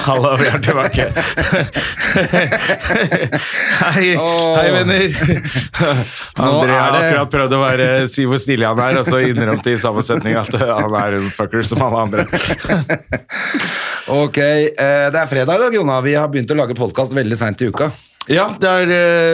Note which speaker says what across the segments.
Speaker 1: Halla, vi er tilbake. Hei, hei venner. André har
Speaker 2: det-
Speaker 1: akkurat prøvd å være, si hvor snill han er, og så innrømte i samme setning at eh, han er en fucker som alle andre.
Speaker 2: Ok, eh, det er fredag i dag, Jonna. Vi har begynt å lage podkast veldig seint i uka.
Speaker 1: Ja, det er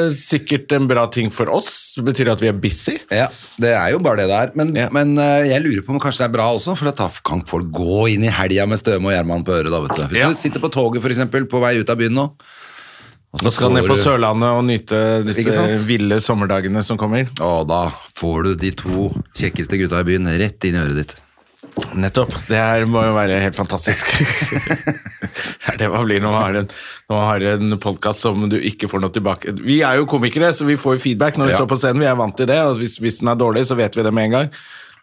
Speaker 1: eh, sikkert en bra ting for oss. Det betyr at vi er busy.
Speaker 2: Ja, Det er jo bare det det er. Men,
Speaker 1: Ja.
Speaker 2: men eh, jeg lurer på om kanskje det er bra også, for da kan folk gå inn i helga med Støme og Gjerman på øret. da, vet du. Hvis
Speaker 1: Ja.
Speaker 2: du sitter på toget for eksempel, på vei ut av byen nå og så
Speaker 1: Nå skal han ned
Speaker 2: får
Speaker 1: på
Speaker 2: du-
Speaker 1: Sørlandet og nyte
Speaker 2: Ikke
Speaker 1: disse
Speaker 2: sant?
Speaker 1: ville sommerdagene som kommer.
Speaker 2: Og da får du de to kjekkeste gutta i byen rett inn i øret ditt.
Speaker 1: Nettopp. Det her må jo være helt fantastisk. det er det man blir når man har en, når man har en podkast som du ikke får noe tilbake Vi er jo komikere, så vi får jo feedback når vi
Speaker 2: Ja.
Speaker 1: står på scenen. Vi er vant til det, og hvis, hvis den er dårlig, så vet vi det med en gang.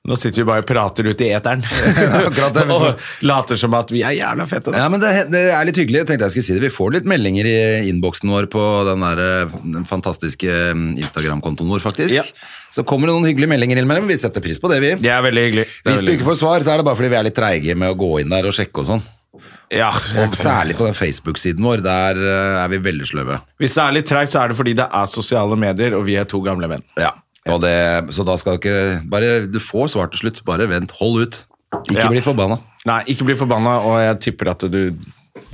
Speaker 1: Nå sitter vi bare og prater ut i eteren
Speaker 2: akkurat det.
Speaker 1: og later som at vi er jævla fete. Da.
Speaker 2: Ja, men det, det er litt hyggelig. Jeg tenkte jeg skulle si det. Vi får litt meldinger i innboksen vår på den, der, eh, den fantastiske eh, Instagram-kontoen vår, faktisk.
Speaker 1: Ja.
Speaker 2: Så kommer det noen hyggelige meldinger innimellom. Vi setter pris på det, vi.
Speaker 1: Det er veldig hyggelig. Det er
Speaker 2: Hvis du
Speaker 1: veldig
Speaker 2: ikke får svar, så er det bare fordi vi er litt treige med å gå inn der og sjekke og sånn.
Speaker 1: hyggelig. ja,
Speaker 2: Og særlig på den Facebook-siden vår. Der eh, er vi veldig sløve.
Speaker 1: Hvis det er litt treigt, så er det fordi det er sosiale medier, og vi er to gamle menn.
Speaker 2: Ja. Og det, så da skal du ikke bare, Du får svar til slutt. Bare vent. Hold ut. Ikke
Speaker 1: Ja.
Speaker 2: bli forbanna.
Speaker 1: Nei, ikke bli forbanna, og jeg tipper at du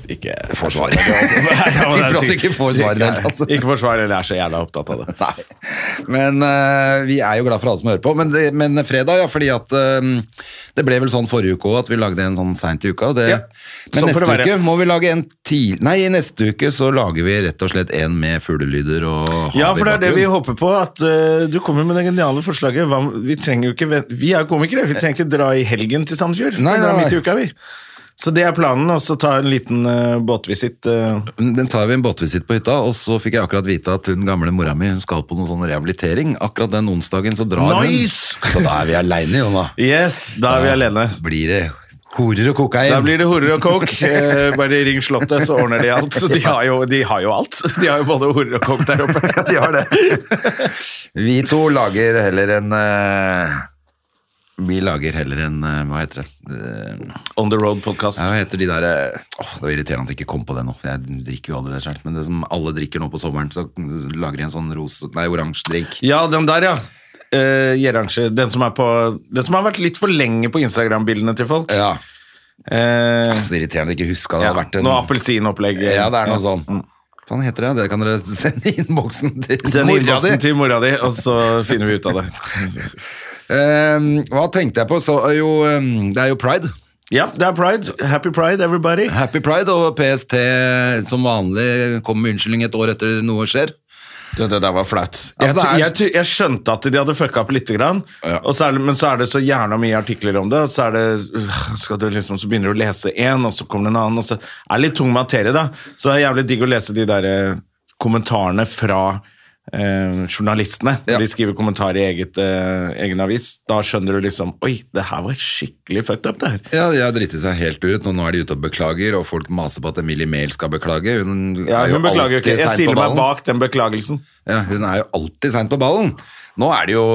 Speaker 1: ikke
Speaker 2: Får svar. Tipper at du ikke får svar i det hele tatt.
Speaker 1: Ikke får svar, eller er så jævla opptatt av det.
Speaker 2: Nei. Men eh, vi er jo glad for alle som hører på. Men, det, men fredag, ja, fordi at eh, det ble vel sånn forrige uke òg, at vi lagde en sånn seint i uka. og Det,
Speaker 1: Ja,
Speaker 2: Men
Speaker 1: sånn får
Speaker 2: neste
Speaker 1: det
Speaker 2: uke
Speaker 1: være.
Speaker 2: må vi lage en til... Nei, i neste uke så lager vi rett og slett en med fuglelyder og hav
Speaker 1: Ja,
Speaker 2: i
Speaker 1: for det er det vi
Speaker 2: bakgrunnen.
Speaker 1: håper på. At eh, du kommer med det geniale forslaget. Hva, om- vi trenger jo ikke ven- Vi er jo komikere, vi trenger ikke dra i helgen til Sandefjord. Vi
Speaker 2: Nei,
Speaker 1: drar
Speaker 2: nei,
Speaker 1: midt i
Speaker 2: nei.
Speaker 1: uka, vi. Så det er planen, og så ta en liten eh, båtvisitt. eh.
Speaker 2: Den tar vi en båtvisitt på hytta, og så fikk jeg akkurat vite at hun gamle mora mi hun skal på noen sånn rehabilitering. Akkurat den onsdagen så drar
Speaker 1: Nice!
Speaker 2: hun. Så da er vi aleine, Jonna.
Speaker 1: Yes, da er vi alene.
Speaker 2: Blir det horer og kokain.
Speaker 1: Da blir det horer og coke. Eh, bare ring Slottet, så ordner de alt. Så de har jo, de har jo alt. De har jo både horer og coke der oppe.
Speaker 2: De har det. Vi to lager heller en eh, Vi lager heller en eh, Hva heter det? Eh,
Speaker 1: On the road-podkast.
Speaker 2: ja, hva heter de der eh, Åh, Det var irriterende at jeg ikke kom på det nå. for Jeg drikker jo aldri det selv Men det som alle drikker nå på sommeren, så lager de en sånn ros... Nei, oransje drink.
Speaker 1: Ja, den der, ja. Eh, Gjerange. Den som, er på, den som har vært litt for lenge på Instagram-bildene til folk.
Speaker 2: Ja.
Speaker 1: Eh,
Speaker 2: Så irriterende at jeg ikke huska det
Speaker 1: ja.
Speaker 2: hadde vært en
Speaker 1: Noe appelsinopplegg.
Speaker 2: Ja, det er noe sånn. Hva faen heter det? Det kan dere sende i innboksen til
Speaker 1: Send
Speaker 2: mora di.
Speaker 1: innboksen til mora di, og så finner vi ut av det.
Speaker 2: Eh, hva tenkte jeg på? Så, er jo, eh, det er jo pride.
Speaker 1: Ja, det er pride. Happy pride, everybody.
Speaker 2: Happy Pride og PST som vanlig kommer med unnskyldning et år etter noe skjer.
Speaker 1: Det, det der var flaut.
Speaker 2: Ja,
Speaker 1: Jeg,
Speaker 2: Altså, det er-
Speaker 1: jeg, ty- jeg skjønte at de hadde fucka opp lite grann,
Speaker 2: Ja.
Speaker 1: og så er det, men så er det så gjerne mye artikler om det, og så, er det, øh, skal du liksom, så begynner du å lese én, og så kommer det en annen, og så er det litt tung materie, da. Så det er jævlig digg å lese de der eh, kommentarene fra eh, journalistene.
Speaker 2: Ja.
Speaker 1: De skriver kommentar i eget, eh, egen avis. Da skjønner du liksom Oi, det her var skikkelig fucked up, det her.
Speaker 2: Ja, De har driti seg helt ut, og nå er de ute og beklager, og folk maser på at Emilie Mehl skal beklage. Hun
Speaker 1: Ja,
Speaker 2: er jo
Speaker 1: hun beklager jo ikke. Jeg
Speaker 2: alltid sein på
Speaker 1: stiller meg
Speaker 2: ballen.
Speaker 1: bak den beklagelsen.
Speaker 2: Ja, hun er jo alltid seint på ballen. Nå er, det jo,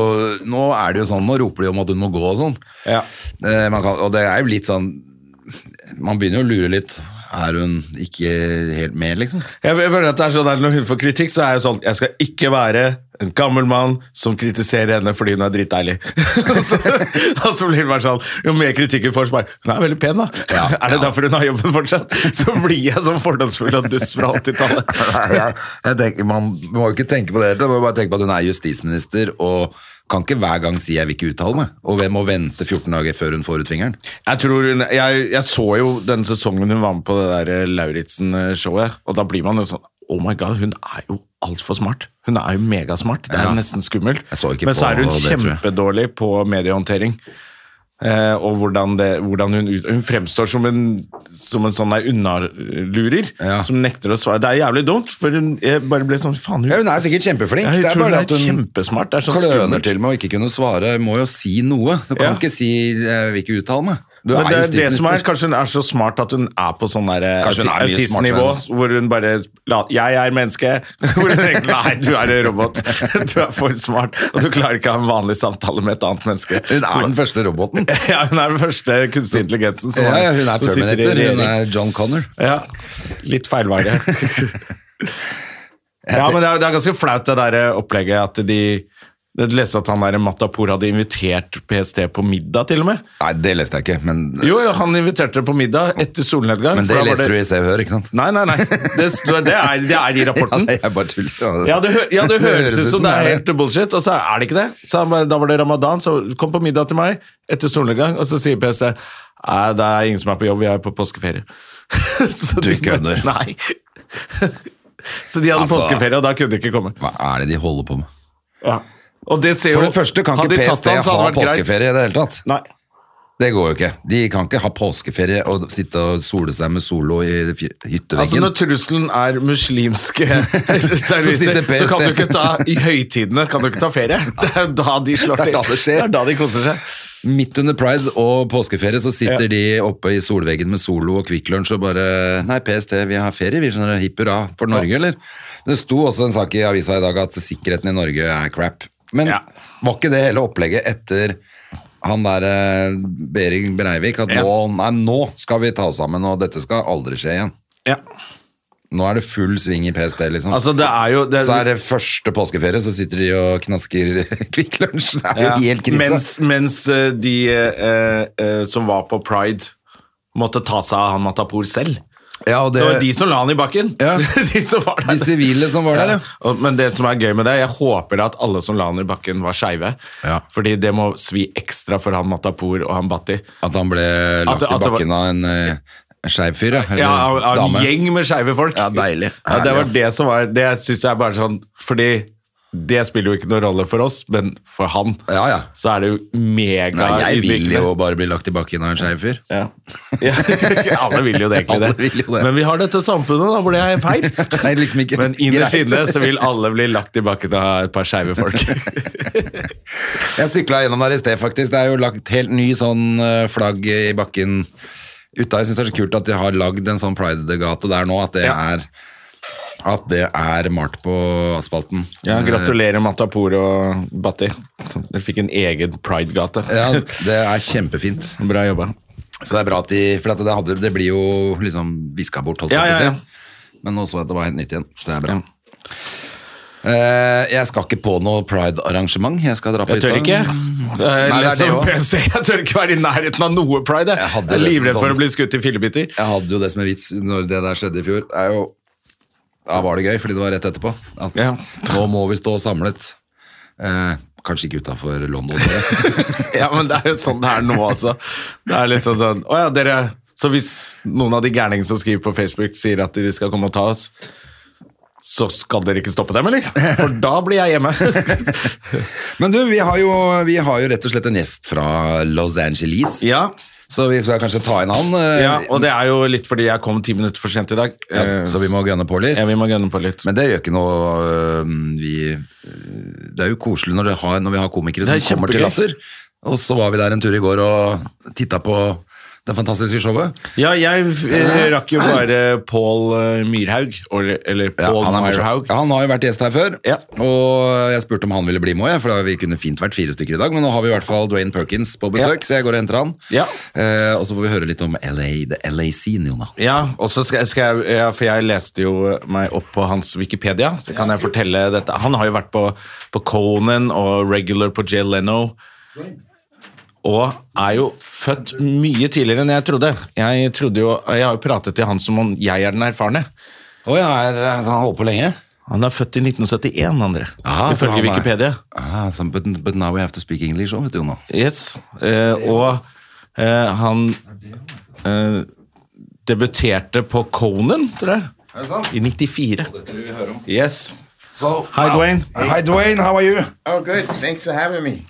Speaker 2: nå er det jo sånn, nå roper de om at hun må gå og sånn.
Speaker 1: Ja.
Speaker 2: Eh, man kan, og det er jo litt sånn Man begynner jo å lure litt. Er hun ikke helt med, liksom?
Speaker 1: Jeg jeg føler at det er sånn der, Når hun får kritikk, så er jeg sånn Jeg skal ikke være en gammel mann som kritiserer henne fordi hun er dritdeilig. og, så, og så blir det bare sånn Jo mer kritikk hun får, så bare Hun er veldig pen, da. er det derfor hun har jobben fortsatt? Så blir jeg sånn fordomsfull og dust fra 80-tallet.
Speaker 2: jeg, jeg tenker, man må jo ikke tenke på det, man må bare tenke på at hun er justisminister, og kan ikke hver gang si jeg vil ikke uttale meg. Og hvem må vente 14 dager før hun får ut fingeren?
Speaker 1: Jeg tror hun, jeg, jeg så jo den sesongen hun var med på det der Lauritzen-showet, og da blir man jo sånn Oh my god, hun er jo altfor smart. Hun er jo megasmart. Det er
Speaker 2: Ja.
Speaker 1: jo nesten skummelt.
Speaker 2: Jeg så ikke
Speaker 1: Men så
Speaker 2: på
Speaker 1: er hun
Speaker 2: det, tror jeg.
Speaker 1: kjempedårlig på mediehåndtering. Eh, og hvordan, det, hvordan hun, ut- hun fremstår som en, som en sånn der unnalurer
Speaker 2: Ja.
Speaker 1: som nekter å svare. Det er jævlig dumt, for hun jeg bare ble sånn Faen, hun,
Speaker 2: Ja, hun er sikkert kjempeflink.
Speaker 1: Ja, hun
Speaker 2: det er
Speaker 1: tror
Speaker 2: bare
Speaker 1: hun
Speaker 2: det at
Speaker 1: er
Speaker 2: hun
Speaker 1: kjempesmart. Det er sånn
Speaker 2: kløner
Speaker 1: skummelt.
Speaker 2: til med å ikke kunne svare. Må jo si noe. Du
Speaker 1: Ja.
Speaker 2: kan ikke si eh, 'vil ikke uttale meg'. Du
Speaker 1: Men
Speaker 2: er
Speaker 1: det er det som er,
Speaker 2: justisminister.
Speaker 1: Kanskje hun er så smart at hun er på sånn der, eh,
Speaker 2: Kanskje hun er mye
Speaker 1: autistnivå,
Speaker 2: smartere
Speaker 1: hvor hun bare la- 'Jeg er menneske'. Hvor hun tenker 'Nei, du er en robot. Du er for smart.' Og du klarer ikke å ha en vanlig samtale med et annet menneske.
Speaker 2: Hun
Speaker 1: Så-
Speaker 2: er den første roboten.
Speaker 1: Ja, hun er den første kunstig intelligensen som,
Speaker 2: Ja, ja, hun er
Speaker 1: som sitter i
Speaker 2: Terminator. Hun
Speaker 1: regjering.
Speaker 2: er John Connor.
Speaker 1: Ja, litt feilvare. ja, men det er, det er ganske flaut det der eh, opplegget at de jeg leste at han der Matapour hadde invitert PST på middag, til og med.
Speaker 2: Nei, det leste jeg ikke, men,
Speaker 1: Jo, jo, han inviterte på middag etter solnedgang.
Speaker 2: men
Speaker 1: for
Speaker 2: det
Speaker 1: da var
Speaker 2: leste du i Se og Hør, ikke sant?
Speaker 1: Nei, nei, nei. Det, står- det, er, det er i rapporten.
Speaker 2: Ja, jeg bare tuller.
Speaker 1: Ja, det, hø ja, det høres ut som det er helt
Speaker 2: det.
Speaker 1: bullshit, og så er det ikke det. Så han bare, da var det ramadan, så kom på middag til meg etter solnedgang, og så sier PST Nei, det er ingen som er på jobb, vi er på påskeferie. Så
Speaker 2: Du
Speaker 1: de bare-
Speaker 2: kødder.
Speaker 1: Nei. Så de hadde
Speaker 2: Altså.
Speaker 1: påskeferie, og da kunne de ikke komme.
Speaker 2: Hva er det de holder på med?
Speaker 1: Og det ser jo
Speaker 2: For det første kan
Speaker 1: hadde
Speaker 2: ikke
Speaker 1: de tatt
Speaker 2: PST
Speaker 1: han, så
Speaker 2: ha
Speaker 1: hadde det vært greit.
Speaker 2: påskeferie i det hele tatt.
Speaker 1: Nei.
Speaker 2: Det går jo ikke. De kan ikke ha påskeferie og sitte og sole seg med solo i fj-
Speaker 1: Altså
Speaker 2: hytteveggen.
Speaker 1: Når trusselen er muslimske
Speaker 2: sitter
Speaker 1: terrorister, så,
Speaker 2: PST.
Speaker 1: kan du ikke ta i høytidene kan du ikke ta ferie. Det er jo da de slår
Speaker 2: Det er
Speaker 1: til.
Speaker 2: da det skjer.
Speaker 1: er da de koser seg.
Speaker 2: Midt under pride og påskeferie så sitter de oppe i solveggen med solo og Kvikk Lunsj og bare Nei, PST, vi har ferie, vi skjønner det. Hipp hurra for Norge, eller? Det sto også en sak i avisa i dag at sikkerheten i Norge er crap. Men
Speaker 1: Ja.
Speaker 2: var ikke det hele opplegget etter han der eh, Behring Breivik at
Speaker 1: Ja.
Speaker 2: nå, nei, nå skal vi ta oss sammen, og dette skal aldri skje igjen.
Speaker 1: Ja.
Speaker 2: Nå er det full sving i PST, liksom.
Speaker 1: Altså, det er jo det,
Speaker 2: Så er det første påskeferie, så sitter de og knasker Kvikk Lunsj. Det er jo
Speaker 1: Ja.
Speaker 2: helt krise.
Speaker 1: Mens, mens eh, de eh, eh, som var på Pride, måtte ta seg av han Matapour selv.
Speaker 2: ja, og
Speaker 1: Det
Speaker 2: det,
Speaker 1: var de som la han i bakken.
Speaker 2: Eh, Ja.
Speaker 1: de som var der.
Speaker 2: De sivile som var der, ja.
Speaker 1: Og- Men det som er gøy med det, jeg håper at alle som la han i bakken, var skeive.
Speaker 2: Ja.
Speaker 1: Fordi det må svi ekstra for han Matapour og han Bhatti.
Speaker 2: at han ble
Speaker 1: At
Speaker 2: lagt
Speaker 1: det- at
Speaker 2: i
Speaker 1: det var-
Speaker 2: bakken av en eh, skeiv fyr, ja. Eller
Speaker 1: Ja, av- av en
Speaker 2: dame.
Speaker 1: gjeng med skeive folk.
Speaker 2: Ja, deilig.
Speaker 1: Ja, det var
Speaker 2: Herlig, ass.
Speaker 1: det som var Det syns jeg bare sånn Fordi det spiller jo ikke noen rolle for oss, men for han
Speaker 2: Ja, ja.
Speaker 1: så er det jo
Speaker 2: Nei, jeg vil
Speaker 1: megaydmykende.
Speaker 2: jo bare bli lagt i bakken av en skeiv fyr.
Speaker 1: Ja. Alle vil jo det, egentlig.
Speaker 2: Alle
Speaker 1: Det.
Speaker 2: vil jo det.
Speaker 1: Men vi har dette samfunnet da, hvor det er feil.
Speaker 2: Det er liksom ikke
Speaker 1: Men innerst
Speaker 2: greit.
Speaker 1: inne så vil alle bli lagt i bakken av et par skeive folk.
Speaker 2: Jeg sykla gjennom der i sted, faktisk. Det er jo lagt helt ny sånn eh, flagg i bakken uta. Jeg syns det er så kult at de har lagd en sånn Pride-gate der nå, at det
Speaker 1: Ja.
Speaker 2: er at det er malt på asfalten.
Speaker 1: Ja, gratulerer Matapour og Batti. Dere fikk en egen pridegate.
Speaker 2: Eh, Ja, det er kjempefint.
Speaker 1: Bra jobba.
Speaker 2: Så det er bra at de For at det, hadde, det blir jo liksom viska bort, holdt jeg
Speaker 1: Ja,
Speaker 2: på å
Speaker 1: ja, ja.
Speaker 2: si. Men nå så jeg at det var helt nytt igjen. Det er bra. Eh, jeg skal ikke på noe pride-arrangement. Jeg skal dra på
Speaker 1: Jeg tør ikke. Jeg,
Speaker 2: Nei, det er
Speaker 1: leser
Speaker 2: det
Speaker 1: om
Speaker 2: også.
Speaker 1: PST. jeg tør ikke være i nærheten av noe pride.
Speaker 2: Jeg
Speaker 1: Jeg,
Speaker 2: hadde
Speaker 1: jeg er
Speaker 2: liksom
Speaker 1: livredd
Speaker 2: sånn-
Speaker 1: for å bli skutt i fillebiter.
Speaker 2: Jeg hadde jo det som en vits når det der skjedde i fjor. Det Er jo, da var det gøy, fordi det var rett etterpå. At
Speaker 1: Ja.
Speaker 2: nå må vi stå samlet. Eh, kanskje ikke utafor London. bare.
Speaker 1: Ja, men det er jo sånn det er nå, altså. Det er liksom sånn Å ja, dere Så hvis noen av de gærningene som skriver på Facebook, sier at de skal komme og ta oss, så skal dere ikke stoppe dem, eller? For da blir jeg hjemme.
Speaker 2: Men du, vi har, jo, vi har jo rett og slett en gjest fra Los Angeles.
Speaker 1: ja.
Speaker 2: Så vi skal kanskje ta inn han. eh,
Speaker 1: ja, og det er jo litt fordi jeg kom ti minutter for sent i dag.
Speaker 2: ja, så- så vi må gønne på litt.
Speaker 1: Eh, Ja, vi må gønne på litt.
Speaker 2: Men det gjør ikke noe øh, vi, øh, Det er jo koselig når, det har, når vi har komikere
Speaker 1: Det
Speaker 2: som
Speaker 1: er
Speaker 2: kommer til
Speaker 1: kjempegøy.
Speaker 2: latter. Og så var vi der en tur i går og titta på det fantastiske showet.
Speaker 1: Ja, jeg eh, rakk jo bare Pål eh, Myrhaug, eller, eller
Speaker 2: Ja,
Speaker 1: Pål
Speaker 2: han, er morsom.
Speaker 1: Myrhaug.
Speaker 2: Ja, han har jo vært gjest her før,
Speaker 1: Ja.
Speaker 2: og jeg spurte om han ville bli med òg. For da vi kunne fint vært fire stykker i dag, men nå har vi i hvert fall Dwayne Perkins på besøk. Så jeg går og henter han.
Speaker 1: Ja.
Speaker 2: Eh, og så får vi høre litt om LA, the LA scene, Jonah.
Speaker 1: Ja, og så skal, skal jeg, ja, for jeg leste jo meg opp på hans Wikipedia. Så kan jeg fortelle dette. Han har jo vært på, på Conan og regular på Jay Leno. Og er jo født mye tidligere enn jeg trodde. Jeg, trodde jo, jeg har jo pratet til han som om jeg er den erfarne.
Speaker 2: Å ja, er, så han holder på lenge?
Speaker 1: Han er født i 1971, André.
Speaker 2: Ah, så han
Speaker 1: Ifølge
Speaker 2: er-
Speaker 1: Wikipedia.
Speaker 2: Ah, so, but, but now we have to speak English òg, vet du, Jonah.
Speaker 1: Yes, eh, og eh, han eh, debuterte på Conan, tror jeg.
Speaker 2: Er det sant?
Speaker 1: I 94.
Speaker 2: Dette vil vi høre om.
Speaker 1: Yes.
Speaker 2: So,
Speaker 1: Hi, Dwayne.
Speaker 2: Hi, Dwayne. How are you?
Speaker 3: Oh, good. Thanks for having me.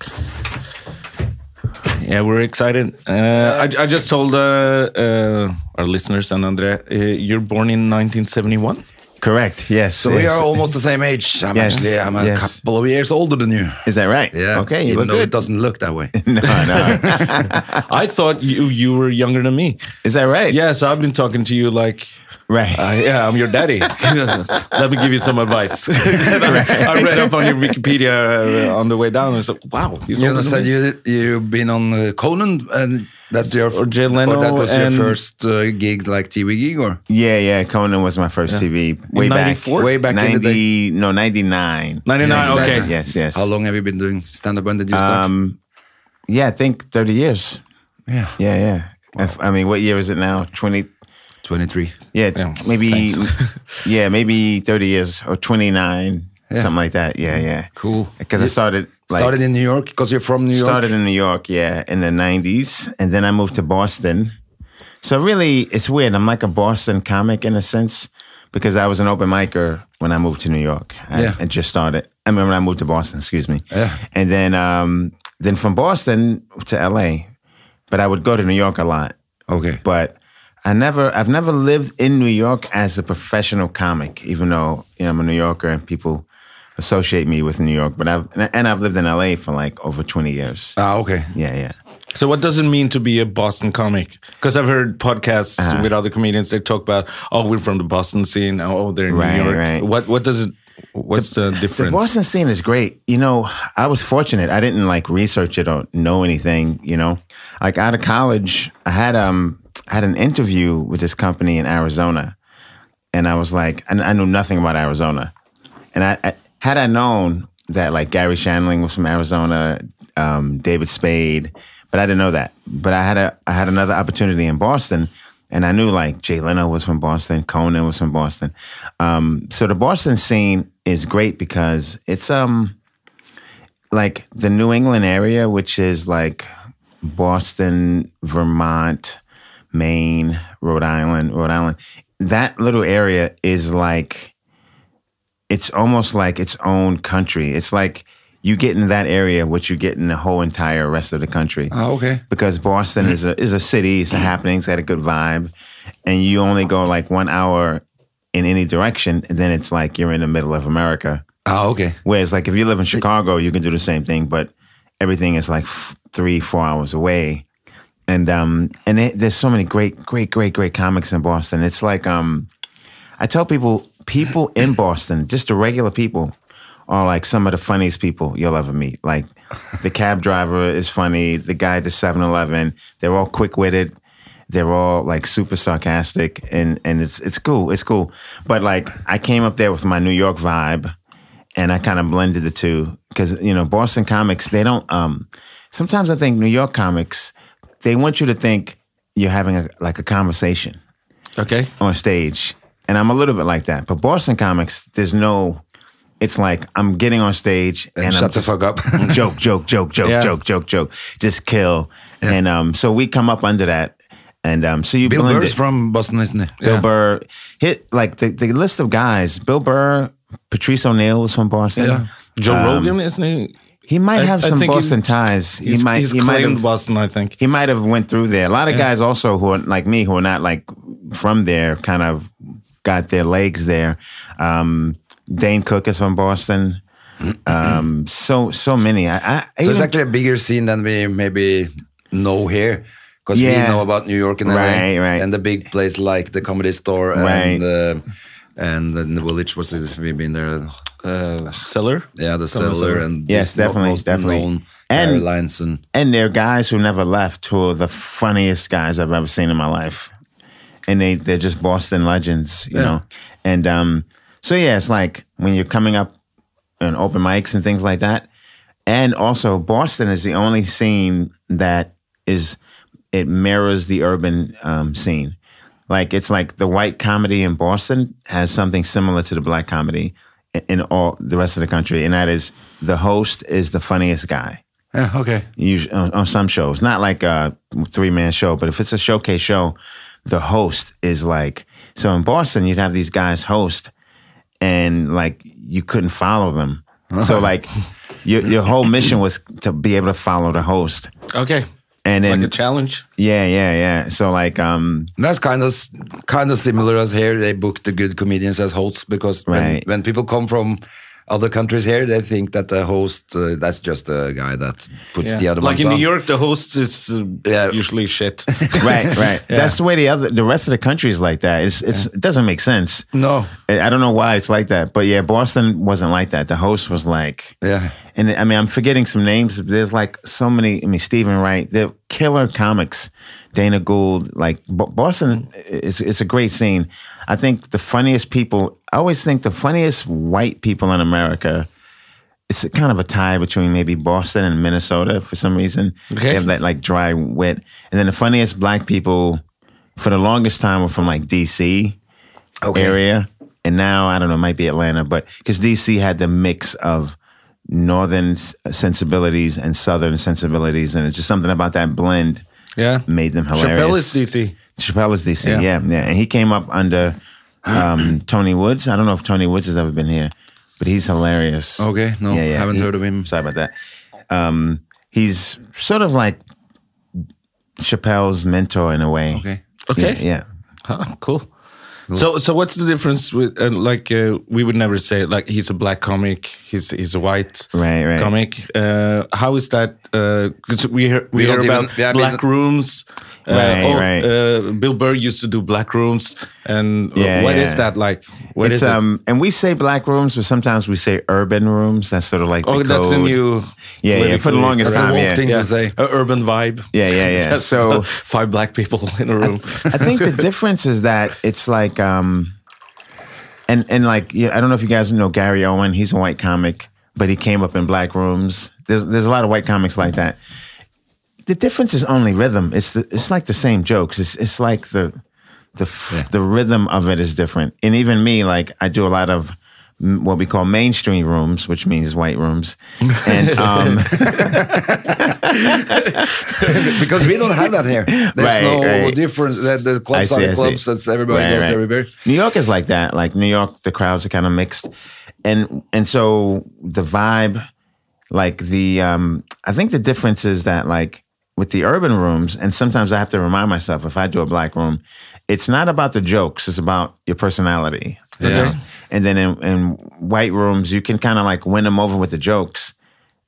Speaker 1: Yeah, we're excited. Uh, I, I just told uh, uh, our listeners, and Andre, uh, you're born in 1971? Correct, yes.
Speaker 2: So we are almost the same age. I'm
Speaker 1: Yes,
Speaker 2: actually I'm a
Speaker 1: yes.
Speaker 2: couple of years older than you.
Speaker 3: Is that right?
Speaker 2: Yeah.
Speaker 3: Okay, you
Speaker 2: Even
Speaker 3: look
Speaker 2: though it
Speaker 3: good.
Speaker 2: doesn't look that way.
Speaker 3: No, no.
Speaker 1: I thought you, you were younger than me.
Speaker 3: Is that right?
Speaker 1: Yeah, so I've been talking to you like,
Speaker 3: Right.
Speaker 1: uh, yeah, I'm your daddy. Let me give you some advice. I read up on your Wikipedia uh, on the way down, and it's like, wow. He's
Speaker 2: You
Speaker 1: older
Speaker 2: know,
Speaker 1: than
Speaker 2: said
Speaker 1: me.
Speaker 2: you you've been on uh, Conan, and that's your
Speaker 1: Or Jay Leno
Speaker 2: that was your
Speaker 1: and-
Speaker 2: first uh, gig, like TV gig, or
Speaker 3: Yeah, yeah. Conan was my first TV way back.
Speaker 1: 94?
Speaker 2: Way back in the
Speaker 3: ninety, no, ninety nine.
Speaker 1: 99,
Speaker 2: Yeah,
Speaker 1: okay.
Speaker 2: exactly.
Speaker 3: Yes, yes.
Speaker 2: how long have you been doing stand up? When did you start?
Speaker 3: Um, yeah, I think thirty years.
Speaker 2: yeah,
Speaker 3: Yeah, yeah. If- I mean, what year is it now? Twenty.
Speaker 2: twenty three.
Speaker 3: Yeah,
Speaker 1: Yeah,
Speaker 3: maybe. yeah, maybe thirty years or twenty nine,
Speaker 2: Yeah.
Speaker 3: something like that. Yeah, yeah.
Speaker 2: Cool.
Speaker 3: Because I
Speaker 2: You
Speaker 3: started like,
Speaker 2: started in New York because you're from New York.
Speaker 3: started in New York, yeah, in the '90s, and then I moved to Boston. So really, it's weird. I'm like a Boston comic in a sense because I was an open micer when I moved to New York. I,
Speaker 2: Yeah.
Speaker 3: I just started. I mean, when I moved to Boston, excuse me.
Speaker 2: Yeah.
Speaker 3: And then, um, then from Boston to LA, but I would go to New York a lot.
Speaker 2: Okay.
Speaker 3: But I never, I've never lived in New York as a professional comic, even though you know I'm a New Yorker and people associate me with New York. But I've and I've lived in LA for like over 20 years.
Speaker 2: Ah, okay.
Speaker 3: Yeah, yeah.
Speaker 1: So what does it mean to be a Boston comic? Because I've heard podcasts
Speaker 3: Uh-huh.
Speaker 1: with other comedians. They talk about, oh, we're from the Boston scene. Oh, they're in
Speaker 3: Right,
Speaker 1: New York.
Speaker 3: right.
Speaker 1: What what does it? What's the, difference?
Speaker 3: The Boston scene is great. You know, I was fortunate. I didn't like research it or know anything. You know, like out of college, I had um I had an interview with this company in Arizona, and I was like, I, I knew nothing about Arizona, and I, I had I known that like Gary Shandling was from Arizona, um, David Spade, but I didn't know that. But I had a I had another opportunity in Boston. And I knew like Jay Leno was from Boston, Conan was from Boston. Um, so the Boston scene is great because it's um like the New England area, which is like Boston, Vermont, Maine, Rhode Island, Rhode Island. That little area is like it's almost like its own country. It's like you get in that area what you get in the whole entire rest of the country
Speaker 2: Ah, okay.
Speaker 3: because Boston is a is a city, it's a happening, it's got a good vibe, and you only go like one hour in any direction, and then it's like you're in the middle of America.
Speaker 2: Ah, okay.
Speaker 3: Whereas like if you live in Chicago, you can do the same thing, but everything is like f- three, four hours away, and um and it, there's so many great, great, great, great comics in Boston. It's like um, I tell people, people in Boston, just the regular people. Are like some of the funniest people you'll ever meet. Like the cab driver is funny, the guy at the 7 Eleven, they're all quick witted, they're all like super sarcastic and and it's it's cool. It's cool. But like I came up there with my New York vibe and I kind of blended the two because you know Boston comics they don't. Um, sometimes I think New York comics they want you to think you're having a, like a conversation
Speaker 1: okay.
Speaker 3: on stage, and I'm a little bit like that. But Boston comics, there's no. It's like I'm getting on stage and, I'm
Speaker 2: Shut the
Speaker 3: just-
Speaker 2: fuck up.
Speaker 3: joke, joke, joke, joke,
Speaker 1: Yeah.
Speaker 3: joke, joke, joke. Just kill. And um, so we come up under that, and um, so you
Speaker 2: Bill
Speaker 3: blend
Speaker 2: Burr's
Speaker 3: it.
Speaker 2: from Boston, isn't he?
Speaker 3: Bill Burr hit like the, the list of guys. Bill Burr, Patrice O'Neill was from Boston.
Speaker 2: Yeah.
Speaker 1: Joe
Speaker 3: Um,
Speaker 1: Rogan isn't he?
Speaker 3: He might
Speaker 1: I-
Speaker 3: have
Speaker 1: I
Speaker 3: some
Speaker 1: think he-
Speaker 3: Boston ties. He
Speaker 1: He's,
Speaker 3: might.
Speaker 1: he's
Speaker 3: he might
Speaker 1: claimed
Speaker 3: have.
Speaker 1: Boston, I think.
Speaker 3: He might have went through there. A lot of guys also who are like me, who are not like from there, kind of got their legs there. Um, Dane Cook is from Boston. Um, so so many. I, I
Speaker 2: So it's
Speaker 3: even-
Speaker 2: actually a bigger scene than we maybe know here. Because
Speaker 3: Yeah.
Speaker 2: we know about New York and LA,
Speaker 3: Right, right.
Speaker 2: and the big place like the Comedy Store
Speaker 3: Right.
Speaker 2: and uh, and then the Village was it? We've been there. Uh,
Speaker 1: Seller.
Speaker 2: yeah, the cellar and
Speaker 3: Yes,
Speaker 2: this
Speaker 3: definitely,
Speaker 2: most
Speaker 3: definitely.
Speaker 2: known
Speaker 3: And-
Speaker 2: airlines and
Speaker 3: and they're guys who never left, who are the funniest guys I've ever seen in my life. And they they're just Boston legends, you know. And um, so yeah, it's like when you're coming up on open mics and things like that. And also, Boston is the only scene that is it mirrors the urban um, scene. Like it's like the white comedy in Boston has something similar to the black comedy i- in all the rest of the country, and that is the host is the funniest guy
Speaker 2: yeah, okay.
Speaker 3: usually on, on some shows, not like a three man show, but if it's a showcase show, the host is like so in Boston you'd have these guys host and like you couldn't follow them. So like your your whole mission was to be able to follow the host.
Speaker 1: Okay.
Speaker 3: and then
Speaker 1: Like a challenge.
Speaker 3: yeah, yeah, yeah. So like um
Speaker 2: That's kind of kind of similar as here. They book the good comedians as hosts because when,
Speaker 3: Right.
Speaker 2: when people come from other countries here, they think that the host uh, that's just a guy that puts the other
Speaker 1: Like
Speaker 2: ones
Speaker 1: in New
Speaker 2: on.
Speaker 1: York, the host is uh,
Speaker 2: Yeah.
Speaker 1: usually shit.
Speaker 3: right, right. That's the way the other the rest of the country is like that. It's it's it doesn't make sense.
Speaker 2: No.
Speaker 3: I I don't know why it's like that. But yeah, Boston wasn't like that. The host was like
Speaker 2: Yeah.
Speaker 3: And I mean, I'm forgetting some names. but There's like so many. I mean, Stephen Wright, they're killer comics. Dana Gould, like Bo- Boston, it's it's a great scene. I think the funniest people. I always think the funniest white people in America. It's kind of a tie between maybe Boston and Minnesota for some reason. They have that like dry wit, and then the funniest black people for the longest time were from like DC area, and now I don't know, it might be Atlanta, but because DC had the mix of northern s- sensibilities and southern sensibilities, and it's just something about that blend
Speaker 1: yeah.
Speaker 3: made them
Speaker 1: Chappelle
Speaker 3: hilarious.
Speaker 1: is DC.
Speaker 3: Chappelle is DC,
Speaker 1: Yeah.
Speaker 3: yeah, yeah, and he came up under um, Tony Woods. I don't know if Tony Woods has ever been here, but he's hilarious.
Speaker 2: Okay, no, haven't heard of him.
Speaker 3: Sorry about that. Um, he's sort of like Chappelle's mentor in a way.
Speaker 2: Okay.
Speaker 1: Okay.
Speaker 3: Yeah. yeah.
Speaker 1: Huh, cool. So, so what's the difference with uh, like uh, we would never say like he's a black comic, he's he's a white
Speaker 3: Right, right.
Speaker 1: comic. Uh, how is that? Because we hear we,
Speaker 2: We
Speaker 1: hear
Speaker 2: don't
Speaker 1: about
Speaker 2: even- yeah, I mean-
Speaker 1: black rooms. Uh,
Speaker 3: Right,
Speaker 1: oh,
Speaker 3: right.
Speaker 1: Uh, Bill Burr used to do black rooms, and uh, what
Speaker 3: Yeah,
Speaker 1: is
Speaker 3: yeah.
Speaker 1: that like? What
Speaker 3: it's
Speaker 1: is it?
Speaker 3: um, and we say black rooms, but sometimes we say urban rooms. That's sort of like
Speaker 1: Oh,
Speaker 3: the
Speaker 1: that's the
Speaker 3: code.
Speaker 1: new
Speaker 3: yeah, yeah. For the
Speaker 1: politically-
Speaker 3: longest
Speaker 2: That's the
Speaker 3: time,
Speaker 2: woke
Speaker 3: yeah.
Speaker 2: thing
Speaker 1: yeah,
Speaker 2: to say.
Speaker 1: a urban vibe.
Speaker 3: Yeah, yeah, yeah.
Speaker 1: That's
Speaker 3: So-
Speaker 1: five black people in a room.
Speaker 3: I think the difference is that it's like um, and and like yeah, I don't know if you guys know Gary Owen. He's a white comic, but he came up in black rooms. There's there's a lot of white comics like that. The difference is only rhythm. It's the, it's like the same jokes. It's it's like the the f the rhythm of it is different. And even me, like I do a lot of mm, what we call mainstream rooms, which means white rooms, and um.
Speaker 2: because we don't have that here. There's
Speaker 3: Right,
Speaker 2: no
Speaker 3: right.
Speaker 2: difference. The, the
Speaker 3: I
Speaker 2: clubs
Speaker 3: see,
Speaker 2: are
Speaker 3: I
Speaker 2: the
Speaker 3: see.
Speaker 2: clubs. That's everybody
Speaker 3: Right,
Speaker 2: goes
Speaker 3: right.
Speaker 2: everywhere.
Speaker 3: New York is like that. Like New York, the crowds are kind of mixed, and and so the vibe, like the um, I think the difference is that like with the urban rooms, and sometimes I have to remind myself if I do a black room, it's not about the jokes; it's about your personality.
Speaker 2: Yeah.
Speaker 3: And then in, in white rooms, you can kind of like win them over with the jokes,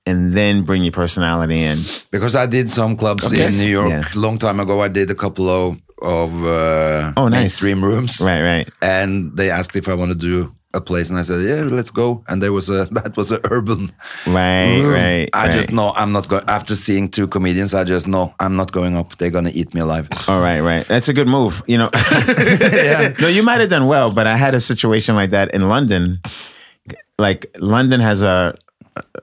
Speaker 3: and then bring your personality in.
Speaker 2: Because I did some clubs
Speaker 1: Okay.
Speaker 2: in New York
Speaker 3: Yeah.
Speaker 2: long time ago. I did a couple of of uh,
Speaker 3: Oh, nice.
Speaker 2: mainstream rooms.
Speaker 3: Right, right.
Speaker 2: and they asked if I want to do a place, and I said, "Yeah, let's go." And there was a that was an urban.
Speaker 3: Right,
Speaker 2: room.
Speaker 3: right.
Speaker 2: I just
Speaker 3: right.
Speaker 2: know I'm not going. After seeing two comedians, I just know I'm not going up. They're gonna eat me alive.
Speaker 3: All right, right. That's a good move. You know, no, you might have done well, but I had a situation like that in London. Like London has a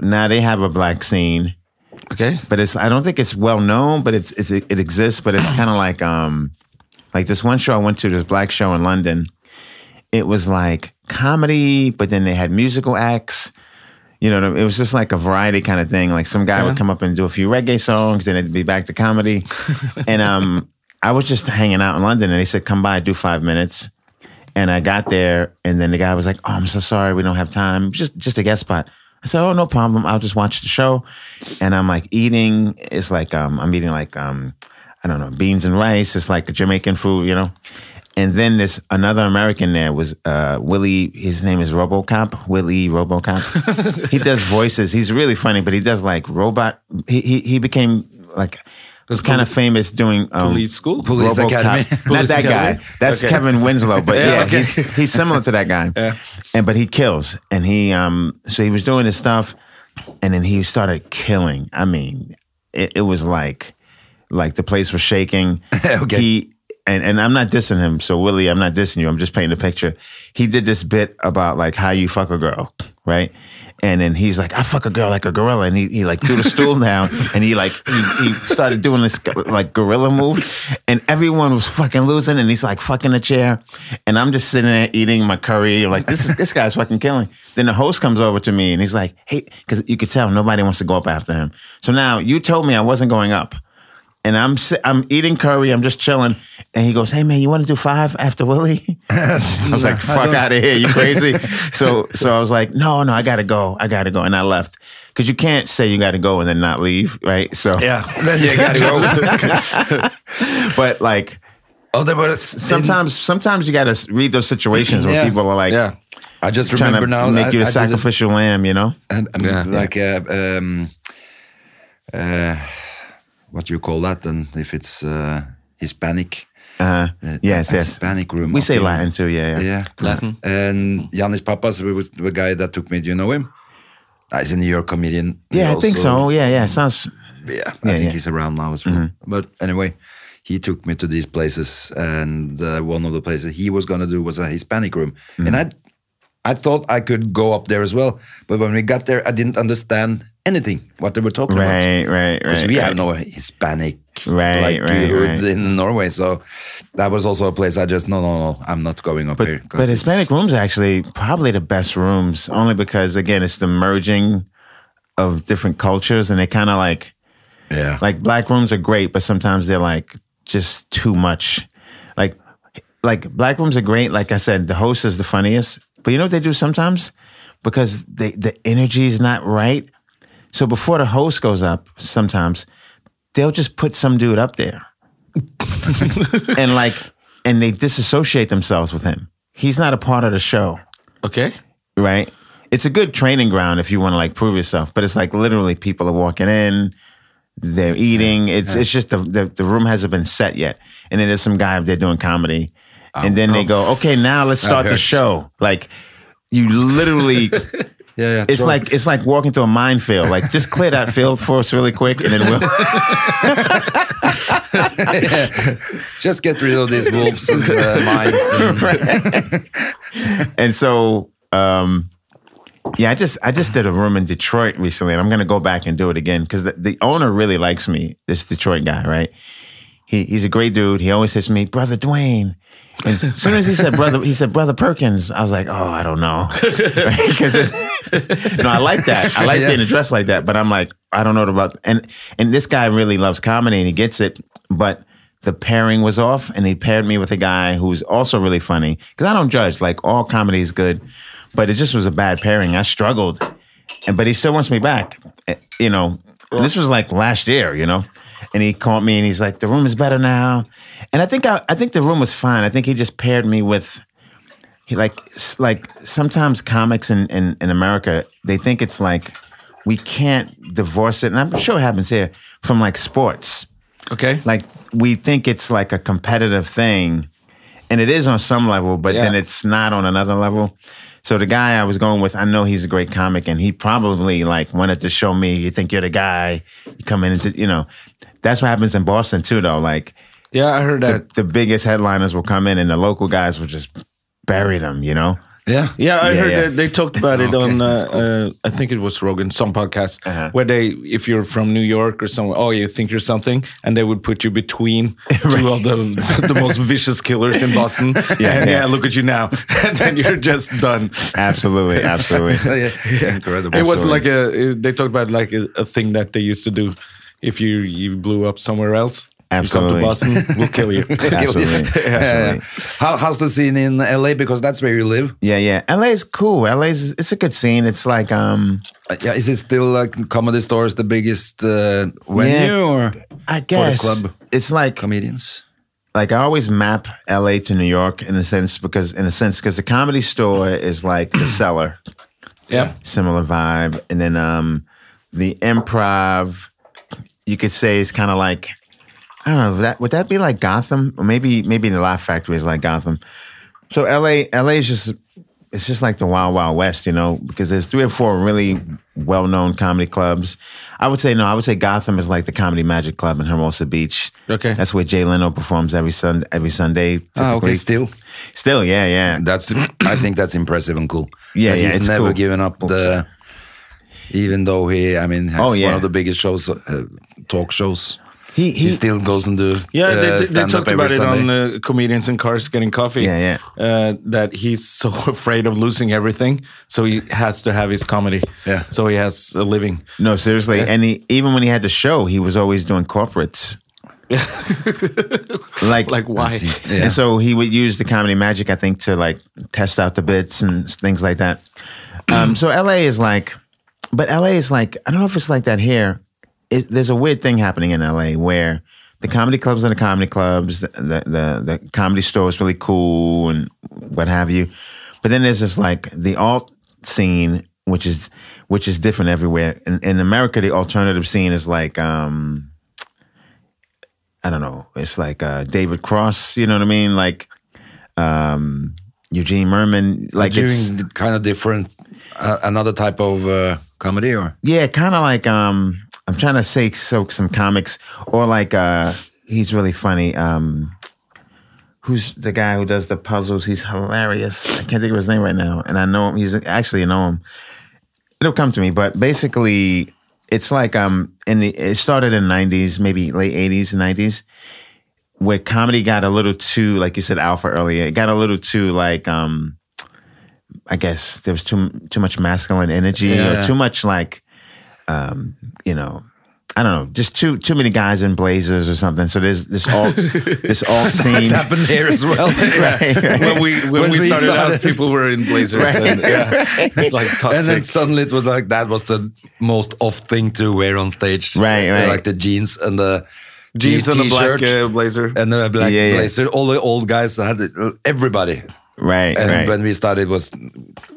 Speaker 3: now they have a black scene,
Speaker 1: okay.
Speaker 3: but it's I don't think it's well known, but it's, it's it exists, but it's kind of like um like this one show I went to, this black show in London. It was like comedy, but then they had musical acts. You know, it was just like a variety kind of thing. Like some guy would come up and do a few reggae songs, then it'd be back to comedy. and um, I was just hanging out in London, and they said, "Come by, do five minutes." And I got there, and then the guy was like, "Oh, I'm so sorry, we don't have time. Just just a guest spot." I said, "Oh, no problem. I'll just watch the show." And I'm like eating. It's like um, I'm eating like um, I don't know, beans and rice. It's like Jamaican food, you know. And then this another American there was uh, Willie. His name is RoboCop. Willie RoboCop. he does voices. He's really funny, but he does like robot. He he, he became like kind of famous doing um,
Speaker 1: police school?
Speaker 2: Police
Speaker 3: RoboCop.
Speaker 2: Academy.
Speaker 3: Not
Speaker 1: Police
Speaker 3: that
Speaker 1: Academy?
Speaker 3: guy. That's
Speaker 1: Okay.
Speaker 3: Kevin Winslow. But
Speaker 1: Yeah,
Speaker 3: yeah,
Speaker 1: okay.
Speaker 3: he's, he's similar to that guy. And but he kills. And he um so he was doing his stuff, and then he started killing. I mean, it, it was like like the place was shaking.
Speaker 2: Okay.
Speaker 3: He and, and I'm not dissing him, so Willie, I'm not dissing you. I'm just painting a picture. He did this bit about like how you fuck a girl, right? And then he's like, I fuck a girl like a gorilla, and he, he like threw the stool down, and he like he, he started doing this like gorilla move, and everyone was fucking losing, and he's like fucking a chair, and I'm just sitting there eating my curry, like this is this guy's fucking killing. Then the host comes over to me, and he's like, hey, because you could tell nobody wants to go up after him. So now you told me I wasn't going up and I'm si- I'm eating curry. I'm just chilling, and he goes, "Hey man, you want to do five after Willie?" I was like, "Fuck out of here, you crazy!" so so I was like, "No, no, I gotta go, I gotta go," and I left. because you can't say you got to go and then not leave, right? So,
Speaker 1: Yeah.
Speaker 3: but like
Speaker 2: Oh, det var
Speaker 3: sometimes, sometimes you got to read those situations where
Speaker 2: Yeah.
Speaker 3: people are like
Speaker 1: yeah.
Speaker 2: I just
Speaker 3: trying
Speaker 2: remember
Speaker 3: to
Speaker 2: now.
Speaker 3: make
Speaker 2: I-
Speaker 3: you
Speaker 2: I did
Speaker 3: the
Speaker 2: it-
Speaker 3: sacrificial lamb, you know?
Speaker 2: And, and
Speaker 1: Yeah.
Speaker 2: like uh, um, uh, what do you call that? And if it's uh, Hispanic,
Speaker 3: Uh,
Speaker 2: uh,
Speaker 3: yes,
Speaker 2: a
Speaker 3: yes.
Speaker 2: Hispanic room.
Speaker 3: We
Speaker 2: up
Speaker 3: say
Speaker 2: in-
Speaker 3: Latin too, yeah, yeah.
Speaker 2: Yeah,
Speaker 1: Latin. Hmm.
Speaker 2: And Yanis Papas was the guy that took me. Do you know him? Ah, He's a New York comedian. He
Speaker 3: Yeah, I think so.
Speaker 2: also-
Speaker 3: Yeah, yeah. Sounds.
Speaker 2: Yeah, I
Speaker 3: Yeah, Mm-hmm.
Speaker 2: think
Speaker 3: yeah.
Speaker 2: he's around now as well. But anyway, he took me to these places, and uh, one of the places he was gonna do was a Hispanic room, and
Speaker 3: Mm-hmm.
Speaker 2: I, I thought I could go up there as well. But when we got there, I didn't understand anything what they were talking about
Speaker 3: Right, right,
Speaker 2: because
Speaker 3: right.
Speaker 2: we have
Speaker 3: right.
Speaker 2: no Hispanic
Speaker 3: Right,
Speaker 2: like,
Speaker 3: right,
Speaker 2: hood
Speaker 3: right.
Speaker 2: in Norway. So that was also a place I just no, no, no, I'm not going up here.
Speaker 3: But,
Speaker 2: 'cause
Speaker 3: but
Speaker 2: it's-
Speaker 3: Hispanic rooms are actually probably the best rooms, only because again it's the merging of different cultures, and they kind of like
Speaker 2: yeah,
Speaker 3: like black rooms are great, but sometimes they're like just too much. Like like black rooms are great. Like I said, the host is the funniest, but you know what they do sometimes because they the energy is not right. So before the host goes up, sometimes they'll just put some dude up there. and like and they disassociate themselves with him. He's not a part of the show,
Speaker 1: Ok.
Speaker 3: right? It's a good training ground if you want to like prove yourself, but it's like literally people are walking in, they're eating. It's it's just the, the the room hasn't been set yet. And then there's some guy up there doing comedy. And then they go, okay, now let's start the
Speaker 2: hurts.
Speaker 3: show. Like you literally
Speaker 2: yeah, yeah,
Speaker 3: it's
Speaker 2: sure.
Speaker 3: like it's like walking through a minefield. Like just clear that field for us really quick and then we'll
Speaker 2: just get rid of these wolves and uh, mines. And,
Speaker 3: and so um yeah i just i just did a room in detroit recently and i'm gonna go back and do it again because the, the owner really likes me this detroit guy right he, he's a great dude he always says to me brother dwayne and as soon as he said brother he said brother perkins i was like oh i don't know because no i like that i like being addressed like that but i'm like i don't know about and and this guy really loves comedy and he gets it but the pairing was off and he paired me with a guy who's also really funny because i don't judge like all comedy is good but it just was a bad pairing i struggled and but he still wants me back eh, you know and this was like last year you know and he called me and he's like the room is better now and i think i, I think the room was fine i think he just paired me with he like s- like sometimes comics in, in in america they think it's like we can't divorce it and i'm sure it happens here from like sports
Speaker 1: Ok.
Speaker 3: like we think it's like a competitive thing and it is on some level but then
Speaker 1: Yeah.
Speaker 3: it's not on another level so the guy i was going with i know he's a great comic and he probably like wanted to show me you think you're the guy you coming into you know that's what happens in boston too though like
Speaker 1: Yeah, I heard that.
Speaker 3: the, the biggest headliners will come in and the local guys will just bury them you know
Speaker 2: yeah,
Speaker 1: Yeah, I
Speaker 3: Yeah,
Speaker 1: heard
Speaker 3: yeah.
Speaker 1: That they talked about it
Speaker 2: Okay,
Speaker 1: on. Uh,
Speaker 2: that's cool.
Speaker 1: uh, I think it was Rogan, some podcast
Speaker 3: Uh-huh.
Speaker 1: where they, if you're from New York or somewhere, oh, you think you're something, and they would put you between two of the the most vicious killers in Boston.
Speaker 3: Yeah,
Speaker 1: and
Speaker 3: yeah.
Speaker 1: yeah, look at you now, and then you're just done.
Speaker 3: absolutely absolutely
Speaker 2: So, yeah, incredible.
Speaker 1: It was
Speaker 3: Absolutely.
Speaker 1: like a. They talked about like a, a thing that they used to do. If you you blew up somewhere else, you come
Speaker 3: Absolutely.
Speaker 1: to Boston, we'll kill you.
Speaker 3: absolutely
Speaker 2: Yeah, yeah. How, how's the scene in LA? Because that's where you live.
Speaker 3: yeah yeah la's cool la's it's a good scene it's like um
Speaker 2: Uh, Yeah, is it still like comedy stores the biggest uh, venue or
Speaker 3: i guess
Speaker 2: club.
Speaker 3: it's like
Speaker 2: comedians?
Speaker 3: like I always map LA to New York in a sense because in a sense because the comedy store is like the cellar,
Speaker 1: yeah,
Speaker 3: similar vibe, and then um the improv you could say is kind of like I don't know that would that be like Gotham or maybe maybe the Laugh Factory is like Gotham. So LA LA is just it's just like the wild wild west, you know, because there's three or four really well known comedy clubs. I would say no, I would say Gotham is like the comedy magic club in Hermosa Beach.
Speaker 1: Okay.
Speaker 3: that's where Jay Leno performs every Sunday. Every Sunday, typically.
Speaker 2: Ah, okay, still.
Speaker 3: Still, yeah, yeah,
Speaker 2: That's I think that's impressive and cool.
Speaker 3: Yeah,
Speaker 2: That
Speaker 3: yeah,
Speaker 2: he's
Speaker 3: it's
Speaker 2: never
Speaker 3: cool.
Speaker 2: given up
Speaker 3: Oops,
Speaker 2: the. Even though he, I mean, has
Speaker 3: Oh,
Speaker 2: one
Speaker 3: yeah.
Speaker 2: of the biggest shows, uh, talk shows.
Speaker 3: He-
Speaker 2: he,
Speaker 3: he-
Speaker 2: still goes and do.
Speaker 1: Yeah, they,
Speaker 2: uh,
Speaker 1: they- they
Speaker 2: stand-up
Speaker 1: talked
Speaker 2: every
Speaker 1: about it
Speaker 2: Sunday.
Speaker 1: on uh, comedians in cars getting coffee.
Speaker 3: Yeah, yeah.
Speaker 1: Uh, that he's so afraid of losing everything, so he has to have his comedy.
Speaker 2: Yeah.
Speaker 1: So he has a living.
Speaker 3: No, seriously, and he, even when he had the show, he was always doing corporates. like,
Speaker 1: Like why?
Speaker 2: Yeah.
Speaker 3: And so he would use the comedy magic, I think, to like test out the bits and things like that. Um, so LA is like but LA is like I don't know if it's like that here. It, there's a weird thing happening in LA where the comedy clubs are the comedy clubs, the the, the, the comedy store is really cool and what have you. But then there's this like the alt scene, which is which is different everywhere. In, in America, the alternative scene is like um, I don't know. It's like uh, David Cross. You know what I mean? Like um, Eugene Merman. Like it's
Speaker 2: Doing kind of different, uh, another type of uh, comedy, or?
Speaker 3: yeah, kind of like um, I'm trying to say so some comics or like uh, he's really funny. Um, who's the guy who does the puzzles? He's hilarious. I can't think of his name right now, and I know him. He's actually I know him. It'll come to me, but basically, it's like um, in the it started in '90s, maybe late '80s, '90s, where comedy got a little too, like you said, alpha earlier. It got a little too like um, I guess there was too too much masculine energy or too much like you know, I don't know, just too too many guys in blazers or something. So there's this all this all scene.
Speaker 2: happened here as well.
Speaker 3: Right, right.
Speaker 1: When we, when
Speaker 2: When
Speaker 1: we
Speaker 2: we
Speaker 1: started, out,
Speaker 2: started.
Speaker 1: people were in blazers. And, yeah. It's like toxic.
Speaker 2: And then suddenly it was like that was the most off thing to wear on stage.
Speaker 3: Right, right.
Speaker 2: Like the jeans and the
Speaker 1: Jeans and a black
Speaker 2: t-shirt
Speaker 1: uh, blazer.
Speaker 2: and the black
Speaker 3: Yeah, yeah.
Speaker 2: blazer. All the old guys had it, everybody.
Speaker 3: Right,
Speaker 2: And
Speaker 3: right.
Speaker 2: when we started, it was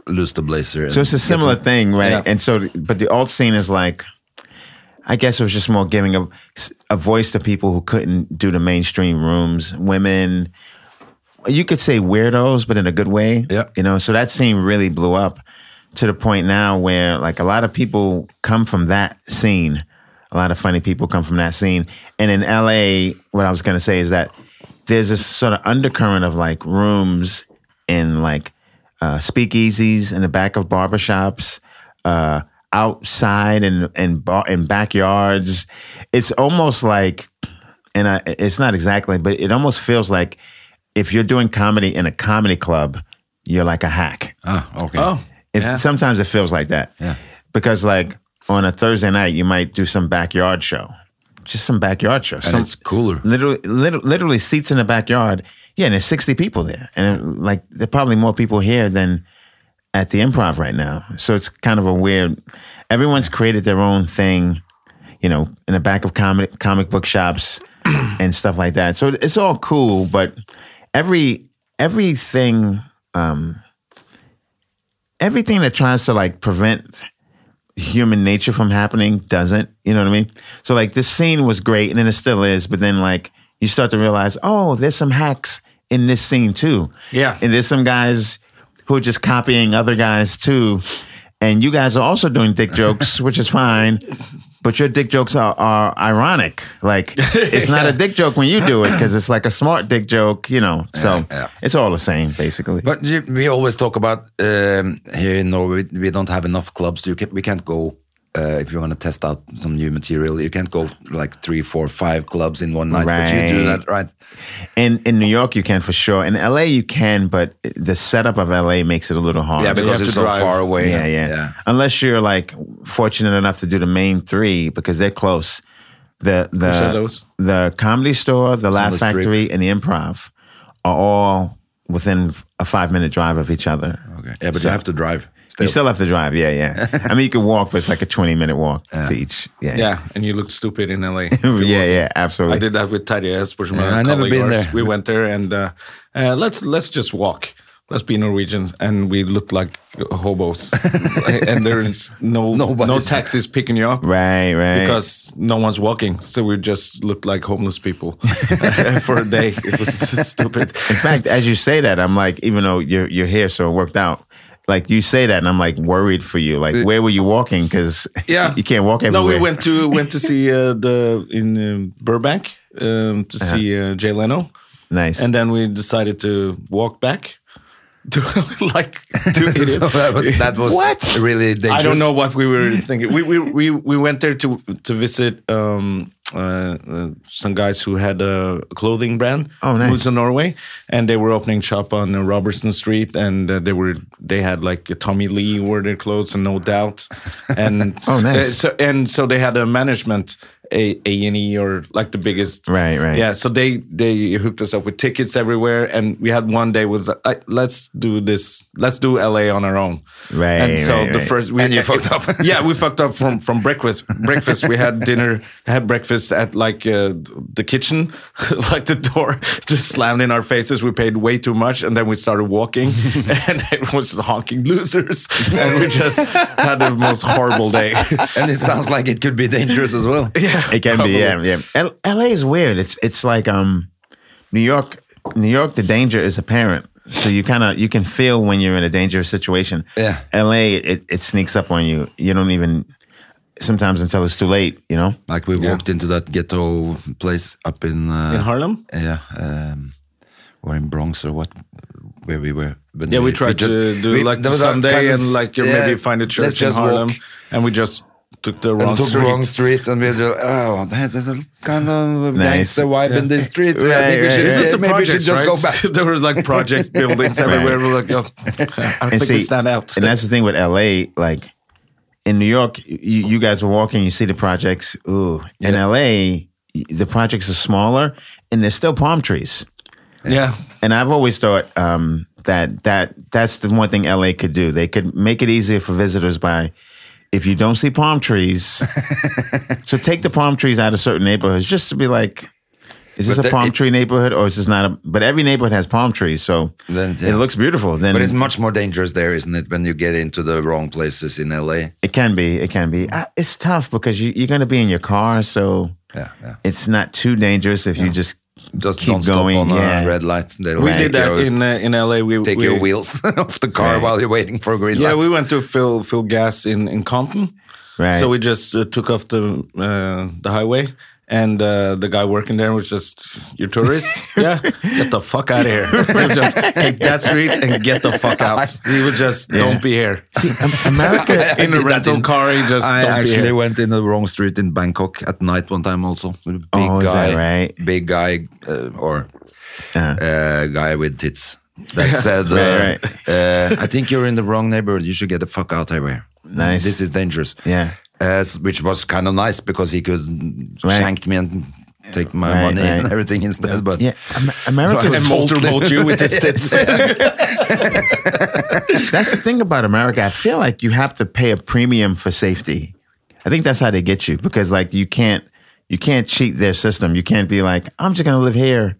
Speaker 2: lose the blazer.
Speaker 3: so it's a similar thing, right? And so, but the alt scene is like, I guess it was just more giving a, a voice to people who couldn't do the mainstream rooms, women. You could say weirdos, but in a good way.
Speaker 2: Yeah.
Speaker 3: You know, so that scene really blew up to the point now where like a lot of people come from that scene. A lot of funny people come from that scene. And in LA, what I was gonna say is that there's this sort of undercurrent of like rooms in like uh, speakeasies in the back of barbershops, uh, outside and and bar- in backyards. It's almost like, and I, it's not exactly, but it almost feels like if you're doing comedy in a comedy club, you're like a hack.
Speaker 2: Ah, okay.
Speaker 1: oh,
Speaker 3: It, Sometimes it feels like that. Because like on a Thursday night, you might do some backyard show, just some backyard show.
Speaker 2: And
Speaker 3: some,
Speaker 2: it's cooler.
Speaker 3: literally, literally, literally seats in the backyard. Yeah, and there's 60 people there, and uh, like there are probably more people here than at the improv right now. So it's kind of a weird. Everyone's created their own thing, you know, in the back of comic comic book shops and stuff like that. So it's all cool, but every everything um everything that tries to like prevent human nature from happening doesn't. You know what I mean? So like this scene was great and then it still is, but then like you start to realize, oh, there's some hacks in this scene too.
Speaker 1: Yeah.
Speaker 3: And there's some guys who are just copying other guys too. And you guys are also doing dick jokes, which is fine. But your dick jokes are, are ironic. Like it's not a dick joke when you do it because it's like a smart dick joke, you know. So
Speaker 2: yeah.
Speaker 3: it's all the same, basically.
Speaker 2: But you- we always talk about um, here in Norway, we don't have enough clubs. You can, we can't go uh, if you want to test out some new material. You can't go like three, four, five clubs in one night. But you do
Speaker 3: Right.
Speaker 2: that, right?
Speaker 3: In in New York, you can for sure. In LA, you can, but the setup of LA makes it a little hard.
Speaker 2: Yeah, because
Speaker 1: have
Speaker 2: it's
Speaker 1: to
Speaker 2: so
Speaker 1: drive.
Speaker 2: far away.
Speaker 3: yeah, yeah, Unless you're like fortunate enough to do the main three because they're close. The the
Speaker 1: Shadows.
Speaker 3: the comedy store, the
Speaker 2: on
Speaker 3: Laugh
Speaker 2: the strip.
Speaker 3: Factory, and the Improv are all within a five minute drive of each other.
Speaker 2: Okay. Yeah, but you have to drive.
Speaker 3: You still have to drive, yeah, yeah. I mean, you can walk, but it's like a twenty-minute walk to each. Yeah,
Speaker 1: yeah. And you look stupid in LA.
Speaker 3: yeah, yeah, absolutely.
Speaker 1: I did that with Terje Espers, my
Speaker 2: Yeah, I've never
Speaker 1: colleague
Speaker 2: been
Speaker 1: of ours.
Speaker 2: there.
Speaker 1: We went there and uh, uh, let's let's just walk. Let's be Norwegians, and we looked like hobos. and there's no no
Speaker 2: Nobody's-
Speaker 1: taxis picking you up
Speaker 3: Right, right.
Speaker 1: because no one's walking. So we just looked like homeless people for a day. It was stupid.
Speaker 3: In fact, as you say that, I'm like, even though you're you're here, so it worked out. Like you say that, and I'm like worried for you. Like, where were you walking? Because
Speaker 1: Uh, Yeah,
Speaker 3: you can't walk everywhere.
Speaker 1: No, we went to went to see uh, the in um, Burbank um, to see uh, Jay Leno.
Speaker 3: Uh-huh. Nice.
Speaker 1: And then we decided to walk back. To, like two idiots.
Speaker 2: So that was, that was
Speaker 3: What?
Speaker 2: really dangerous.
Speaker 1: I don't know what we were thinking. We we we, we went there to to visit um, uh, uh, some guys who had a clothing brand.
Speaker 3: Oh, nice.
Speaker 1: Who's in Norway, and they were opening shop on uh, Robertson Street, and uh, they were they had like Tommy Lee wore their clothes and No Doubt, and
Speaker 3: Oh, nice.
Speaker 1: uh, so and so they had a management A and E or like the biggest.
Speaker 3: Right, right.
Speaker 1: Yeah, so they they hooked us up with tickets everywhere, and we had one day was like, let's do this, let's do LA on our own.
Speaker 3: Right,
Speaker 1: And so
Speaker 3: right,
Speaker 1: the
Speaker 3: right.
Speaker 1: first we
Speaker 2: And you fucked up.
Speaker 1: yeah, we fucked up from from breakfast. Breakfast. We had dinner, had breakfast at like uh, the kitchen, like the door just slammed in our faces. We paid way too much, and then we started walking, and everyone's honking losers, and we just had the most horrible day.
Speaker 2: And it sounds like it could be dangerous as well.
Speaker 3: It can be, yeah, yeah. L- LA is weird. It's it's like um, New York. New York, the danger is apparent, so you kind of you can feel when you're in a dangerous situation.
Speaker 2: Yeah.
Speaker 3: LA, it, it sneaks up on you. You don't even sometimes until it's too late. You know.
Speaker 2: Like we walked into that ghetto place up in uh,
Speaker 1: In Harlem?
Speaker 2: Yeah, um, or in Bronx or what, where we were. when
Speaker 1: Yeah, we tried
Speaker 2: ju-
Speaker 1: to do
Speaker 2: we-
Speaker 1: like
Speaker 2: there was a
Speaker 1: Sunday
Speaker 2: kind of
Speaker 1: and
Speaker 2: s-
Speaker 1: like you
Speaker 2: yeah,
Speaker 1: maybe find a
Speaker 2: let's
Speaker 1: church in
Speaker 2: just
Speaker 1: Harlem,
Speaker 2: walk.
Speaker 1: and we just took the wrong
Speaker 2: and took
Speaker 1: street.
Speaker 2: wrong street and we just oh that- there's a kind of
Speaker 3: Nice.
Speaker 2: gangster vibe in this street. So I
Speaker 3: Right,
Speaker 2: think we
Speaker 3: right,
Speaker 2: should,
Speaker 1: This
Speaker 3: right.
Speaker 1: is the
Speaker 2: maybe we should
Speaker 1: project,
Speaker 2: just
Speaker 1: right?
Speaker 2: go back.
Speaker 1: there was like project buildings everywhere. We're like, oh, I don't think we stand out.
Speaker 3: And that's the thing with LA, like in New York, you, you guys were walking, you see the projects. Ooh. In LA, y- the projects are smaller and there's still palm trees.
Speaker 1: yeah,
Speaker 3: And I've always thought um, that that that's the one thing LA could do. They could make it easier for visitors by if you don't see palm trees. so take the palm trees out of certain neighborhoods just to be like is this
Speaker 2: But
Speaker 3: a
Speaker 2: the-
Speaker 3: palm
Speaker 2: it-
Speaker 3: tree neighborhood or is this not a but every neighborhood has palm trees, so
Speaker 2: Then, yeah.
Speaker 3: it looks beautiful. Then
Speaker 2: But it's much more dangerous there, isn't it, when you get into the wrong places in LA?
Speaker 3: It can be. It can be. Uh, It's tough because you, you're going to be in your car, so
Speaker 2: Yeah, yeah.
Speaker 3: it's not too dangerous if you just
Speaker 2: Just
Speaker 3: keep
Speaker 2: don't
Speaker 3: going.
Speaker 2: stop on
Speaker 3: yeah,
Speaker 2: a red light. They'll
Speaker 1: we
Speaker 2: take
Speaker 1: did that
Speaker 2: your-
Speaker 1: in uh, in LA. We
Speaker 2: take
Speaker 1: we,
Speaker 2: your wheels off the car
Speaker 3: Right.
Speaker 2: while you're waiting for a green
Speaker 1: Yeah,
Speaker 2: light.
Speaker 1: we went to fill fill gas in in Compton.
Speaker 3: Right.
Speaker 1: So we just uh, took off the uh, the highway, and uh, the guy working there was just, "You're tourists, yeah, get the fuck out of here." He was just take that street and get the fuck out. He was just, "Don't be here."
Speaker 3: See, Am- America.
Speaker 1: in a rental
Speaker 2: in-
Speaker 1: car, he just
Speaker 2: I
Speaker 1: don't be
Speaker 2: actually
Speaker 1: here.
Speaker 2: went in the wrong street in Bangkok at night one time also. A Big
Speaker 3: Oh, is
Speaker 2: guy,
Speaker 3: that right?
Speaker 2: Big guy uh, or
Speaker 3: Uh,
Speaker 2: uh, guy with tits that said, uh,
Speaker 3: Right,
Speaker 2: uh, I think you're in the wrong neighborhood. You should get the fuck out of here.
Speaker 3: Nice.
Speaker 2: This is dangerous.
Speaker 3: Yeah.
Speaker 2: Uh, s- which was kind of nice because he could
Speaker 3: Right.
Speaker 2: shank me and take my
Speaker 3: Right,
Speaker 2: money and
Speaker 3: right.
Speaker 2: everything instead. But
Speaker 3: yeah, Am- America.
Speaker 1: And motorboat you with his tits.
Speaker 3: that's the thing about America. I feel like you have to pay a premium for safety. I think that's how they get you because like you can't you can't cheat their system. You can't be like I'm just gonna live here,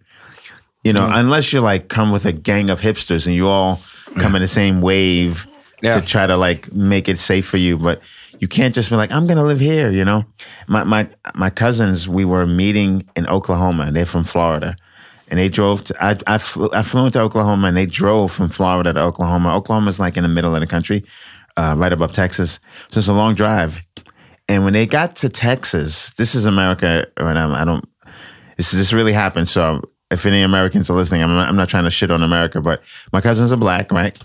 Speaker 3: you know, unless you're like come with a gang of hipsters and you all come in the same wave
Speaker 1: Yeah.
Speaker 3: to try to like make it safe for you. But you can't just be like I'm gonna live here, you know. My my my cousins, we were meeting in Oklahoma. They're from Florida. And they drove. To, I I flew, I flew into Oklahoma, and they drove from Florida to Oklahoma. Oklahoma's like in the middle of the country, uh, right above Texas. So it's a long drive. And when they got to Texas, this is America, and I'm, I don't. This this really happened. So if any Americans are listening, I'm not, I'm not trying to shit on America, but my cousins are black, right?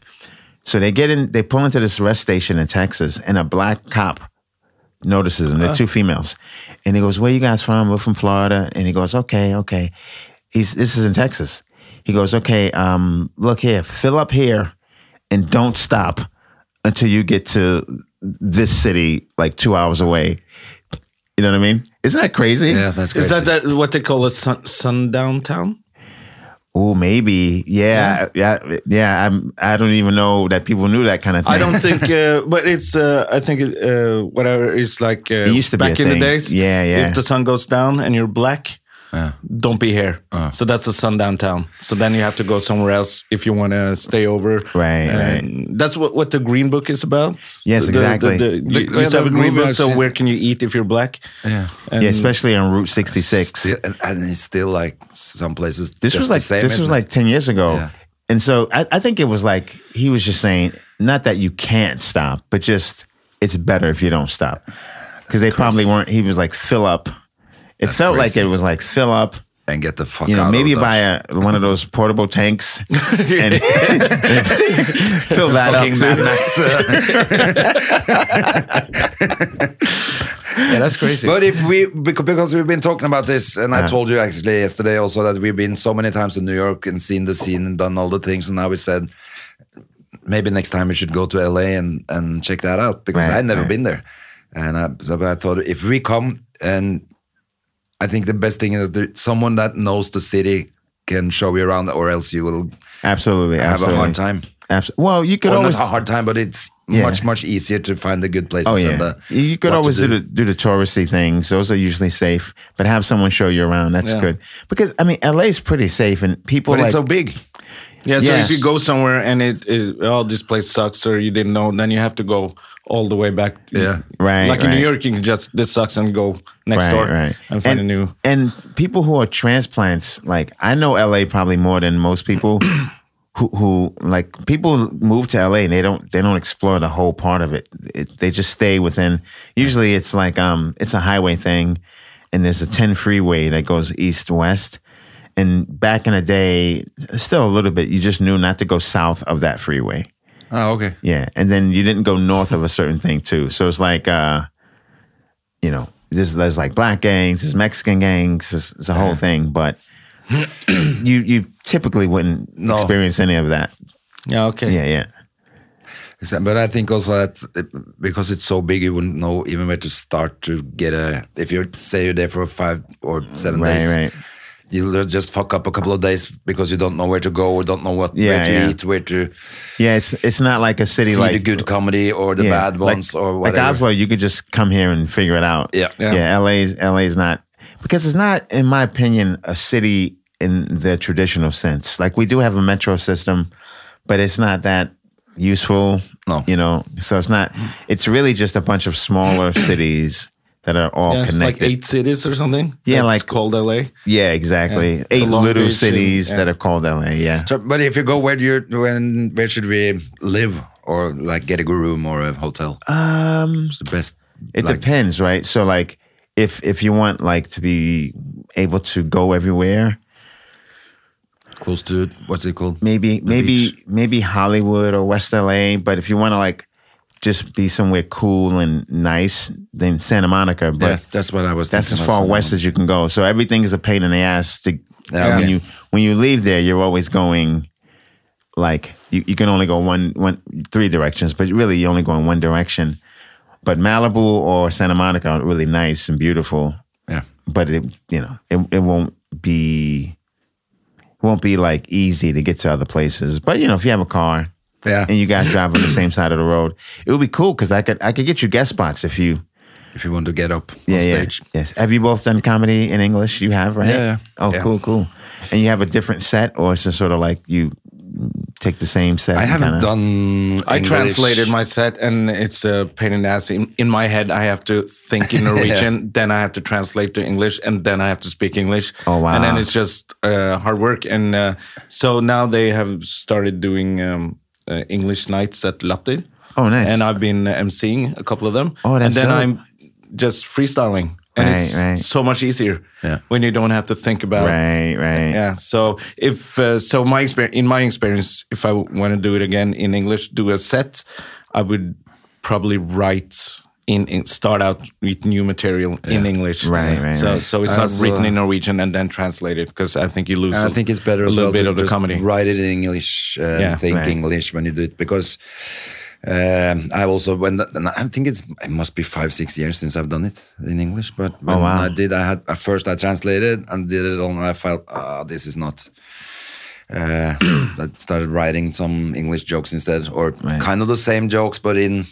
Speaker 3: So they get in, they pull into this rest station in Texas, and a black cop notices them. They're two females, and he goes, "Where you guys from? We're from Florida." And he goes, "Okay, okay." He's this is in Texas. He goes, "Okay, um, look here, fill up here, and don't stop until you get to this city, like two hours away." You know what I mean? Isn't that crazy?
Speaker 2: yeah, that's crazy.
Speaker 1: Is that, that what they call a sun, sundown town?
Speaker 3: Oh, maybe. Yeah, yeah, yeah. I'm, I don't even know that people knew that kind of thing.
Speaker 1: I don't think, uh, but it's. Uh, I think it, uh, whatever it's like. Uh,
Speaker 3: It used to be
Speaker 1: back
Speaker 3: a
Speaker 1: in
Speaker 3: thing.
Speaker 1: the days.
Speaker 3: Yeah, yeah.
Speaker 1: If the sun goes down and you're black, don't be here.
Speaker 3: Uh.
Speaker 1: So that's a sundown town. So then you have to go somewhere else if you want to stay over.
Speaker 3: Right, right.
Speaker 1: And That's what what the Green Book is about.
Speaker 3: Yes,
Speaker 1: The- the-
Speaker 3: exactly.
Speaker 1: The, you
Speaker 2: The-
Speaker 1: you
Speaker 2: yeah,
Speaker 1: used to have
Speaker 2: the
Speaker 1: a Green
Speaker 2: movie
Speaker 1: Book.
Speaker 2: I've
Speaker 1: So
Speaker 2: seen.
Speaker 1: where can you eat if you're black?
Speaker 2: yeah.
Speaker 1: And
Speaker 3: yeah, especially on Route 66.
Speaker 2: Still- and, and it's still like some places.
Speaker 3: This
Speaker 2: just
Speaker 3: was
Speaker 2: the
Speaker 3: like
Speaker 2: same,
Speaker 3: this
Speaker 2: isn't it?
Speaker 3: was like ten years ago,
Speaker 2: Yeah.
Speaker 3: and so I, I think it was like he was just saying not that you can't stop, but just it's better if you don't stop because they probably weren't. He was like fill up. It felt
Speaker 2: crazy.
Speaker 3: like it was like fill up.
Speaker 2: and get the fuck
Speaker 3: You know,
Speaker 2: out.
Speaker 3: maybe
Speaker 2: of
Speaker 3: buy
Speaker 2: Dodge.
Speaker 3: a, one of those portable tanks and fill that up.
Speaker 2: Fucking Mad
Speaker 3: Too.
Speaker 2: Max, uh,
Speaker 1: yeah, that's crazy.
Speaker 2: But if we becau- because we've been talking about this, and I told you actually yesterday also that we've been so many times to New York and seen the scene and done all the things, and now we said maybe next time we should go to LA and and check that out because
Speaker 3: Right,
Speaker 2: I've never
Speaker 3: right.
Speaker 2: been there, and I, so I thought if we come and I think the best thing is that someone that knows the city can show you around, or else you will
Speaker 3: Absolutely.
Speaker 2: have a
Speaker 3: absolutely.
Speaker 2: hard time.
Speaker 3: Abs- well, you could
Speaker 2: Or
Speaker 3: always
Speaker 2: not a hard time, but it's
Speaker 3: Yeah.
Speaker 2: much much easier to find the good places.
Speaker 3: Oh yeah,
Speaker 2: and the,
Speaker 3: you could
Speaker 2: what to
Speaker 3: always do. the do the touristy things. Those are usually safe, but have someone show you around. That's
Speaker 2: Yeah.
Speaker 3: good because I mean, LA is pretty safe, and people
Speaker 2: but
Speaker 3: like
Speaker 2: it's so big.
Speaker 1: Yeah, so
Speaker 3: Yes.
Speaker 1: if you go somewhere and it, it oh this place sucks or you didn't know, then you have to go all the way back.
Speaker 2: Yeah.
Speaker 3: Right,
Speaker 1: Like in New
Speaker 3: right.
Speaker 1: York, you can just this sucks and go next
Speaker 3: right,
Speaker 1: door
Speaker 3: right,
Speaker 1: and find
Speaker 3: and,
Speaker 1: a new.
Speaker 3: And people who are transplants, like I know LA probably more than most people. Who, who like people move to LA and they don't they don't explore the whole part of it. it. They just stay within. Usually it's like um it's a highway thing, and there's a ten freeway that goes east west. And back in the day, still a little bit, you just knew not to go south of that freeway.
Speaker 2: Oh, okay.
Speaker 3: Yeah, and then you didn't go north of a certain thing too. So it's like, uh, you know, there's there's like black gangs, there's Mexican gangs, it's, it's a whole thing. But you you typically wouldn't
Speaker 2: No.
Speaker 3: experience any of that.
Speaker 1: Yeah, okay.
Speaker 3: Yeah, yeah,
Speaker 2: Exact- But I think also that it- because it's so big, you wouldn't know even where to start to get a. If you say you're there for five or seven
Speaker 3: right,
Speaker 2: days,
Speaker 3: right.
Speaker 2: you'll just fuck up a couple of days because you don't know where to go or don't know what where
Speaker 3: Yeah,
Speaker 2: to
Speaker 3: yeah.
Speaker 2: eat, where to
Speaker 3: Yeah, it's it's not like a city
Speaker 2: see
Speaker 3: like
Speaker 2: the good comedy or the
Speaker 3: yeah,
Speaker 2: bad ones
Speaker 3: like,
Speaker 2: or whatever.
Speaker 3: Like Oslo, you could just come here and figure it out.
Speaker 2: Yeah.
Speaker 3: yeah.
Speaker 2: Yeah.
Speaker 3: LA's LA's not because it's not, in my opinion, a city in the traditional sense. Like we do have a metro system, but it's not that useful.
Speaker 2: No.
Speaker 3: you know, so it's not. It's really just a bunch of smaller cities that are all
Speaker 1: Yeah, like
Speaker 3: connected.
Speaker 1: eight cities or something.
Speaker 3: Yeah,
Speaker 1: That's
Speaker 3: like-
Speaker 1: called LA.
Speaker 3: yeah, exactly.
Speaker 1: Yeah.
Speaker 3: Eight
Speaker 1: So Long
Speaker 3: little
Speaker 1: Beach and-
Speaker 3: cities
Speaker 1: yeah.
Speaker 3: that are called LA. Yeah.
Speaker 2: So, but if you go, where do you when where should we live or like get a good room or a hotel?
Speaker 3: Um.
Speaker 2: It's the best.
Speaker 3: It
Speaker 2: like,
Speaker 3: depends, right? So like if if you want like to be able to go everywhere,
Speaker 2: Close to what's it called?
Speaker 3: maybe maybe
Speaker 2: beach.
Speaker 3: maybe Hollywood or West LA, but if you want to like just be somewhere cool and nice, then Santa Monica, but
Speaker 2: yeah, that's what I was.
Speaker 3: that's as
Speaker 2: thinking of
Speaker 3: far
Speaker 2: someone.
Speaker 3: west as you can go. So everything is a pain in the ass to
Speaker 2: Yeah,
Speaker 3: when
Speaker 2: okay.
Speaker 3: you when you leave there, you're always going like you, you can only go one one three directions, but really you only go in one direction. But Malibu or Santa Monica are really nice and beautiful
Speaker 2: Yeah.
Speaker 3: but it you know it, it won't be it won't be like easy to get to other places but you know if you have a car
Speaker 2: Yeah.
Speaker 3: and you guys drive on the same side of the road it would be cool because i could i could get you guest spots if you
Speaker 2: If you want to get up
Speaker 3: yeah
Speaker 2: on
Speaker 3: yeah
Speaker 2: stage.
Speaker 3: yes have you both done comedy in english you have right
Speaker 2: Yeah, yeah.
Speaker 3: oh
Speaker 2: Yeah.
Speaker 3: cool cool and you have a different set or it's just sort of like you take the same set
Speaker 2: I
Speaker 3: and
Speaker 2: haven't
Speaker 3: kinda-
Speaker 2: done.
Speaker 1: I
Speaker 2: English.
Speaker 1: translated my set, and it's a pain in the ass. In, in my head, I have to think in Norwegian, then I have to translate to English, and then I have to speak English.
Speaker 3: Oh, wow.
Speaker 1: And then it's just uh, hard work. And uh, so now they have started doing um, uh, English nights at Latter.
Speaker 3: Oh, nice.
Speaker 1: And I've been emceeing a couple of them.
Speaker 3: Oh, that's
Speaker 1: And then
Speaker 3: dope.
Speaker 1: I'm just freestyling, and
Speaker 3: Right,
Speaker 1: it's
Speaker 3: right.
Speaker 1: so much easier when you don't have to think about
Speaker 3: right right
Speaker 1: yeah. So if uh, so, my experience in my experience, if I want to do it again in English, do a set, I would probably write in, in start out with new material in English.
Speaker 3: Right, right,
Speaker 1: So
Speaker 3: right.
Speaker 1: so it's
Speaker 2: I
Speaker 1: not
Speaker 2: also-
Speaker 1: written in Norwegian and then translated because I think you lose.
Speaker 2: Uh, I
Speaker 1: a-
Speaker 2: think it's better
Speaker 1: a
Speaker 2: as
Speaker 1: little
Speaker 2: well
Speaker 1: bit
Speaker 2: to
Speaker 1: of the
Speaker 2: just
Speaker 1: comedy.
Speaker 2: write it in English and
Speaker 1: Yeah.
Speaker 2: think
Speaker 3: Right.
Speaker 2: English when you do it because um, I also when the, and I think it's it must be five six years since I've done it in English. But
Speaker 1: Oh,
Speaker 2: when
Speaker 3: wow.
Speaker 2: I did, I had at first I translated and did it all, and I felt ah this is not. Uh, I started writing some English jokes instead, or
Speaker 3: Right.
Speaker 2: kind of the same jokes, but in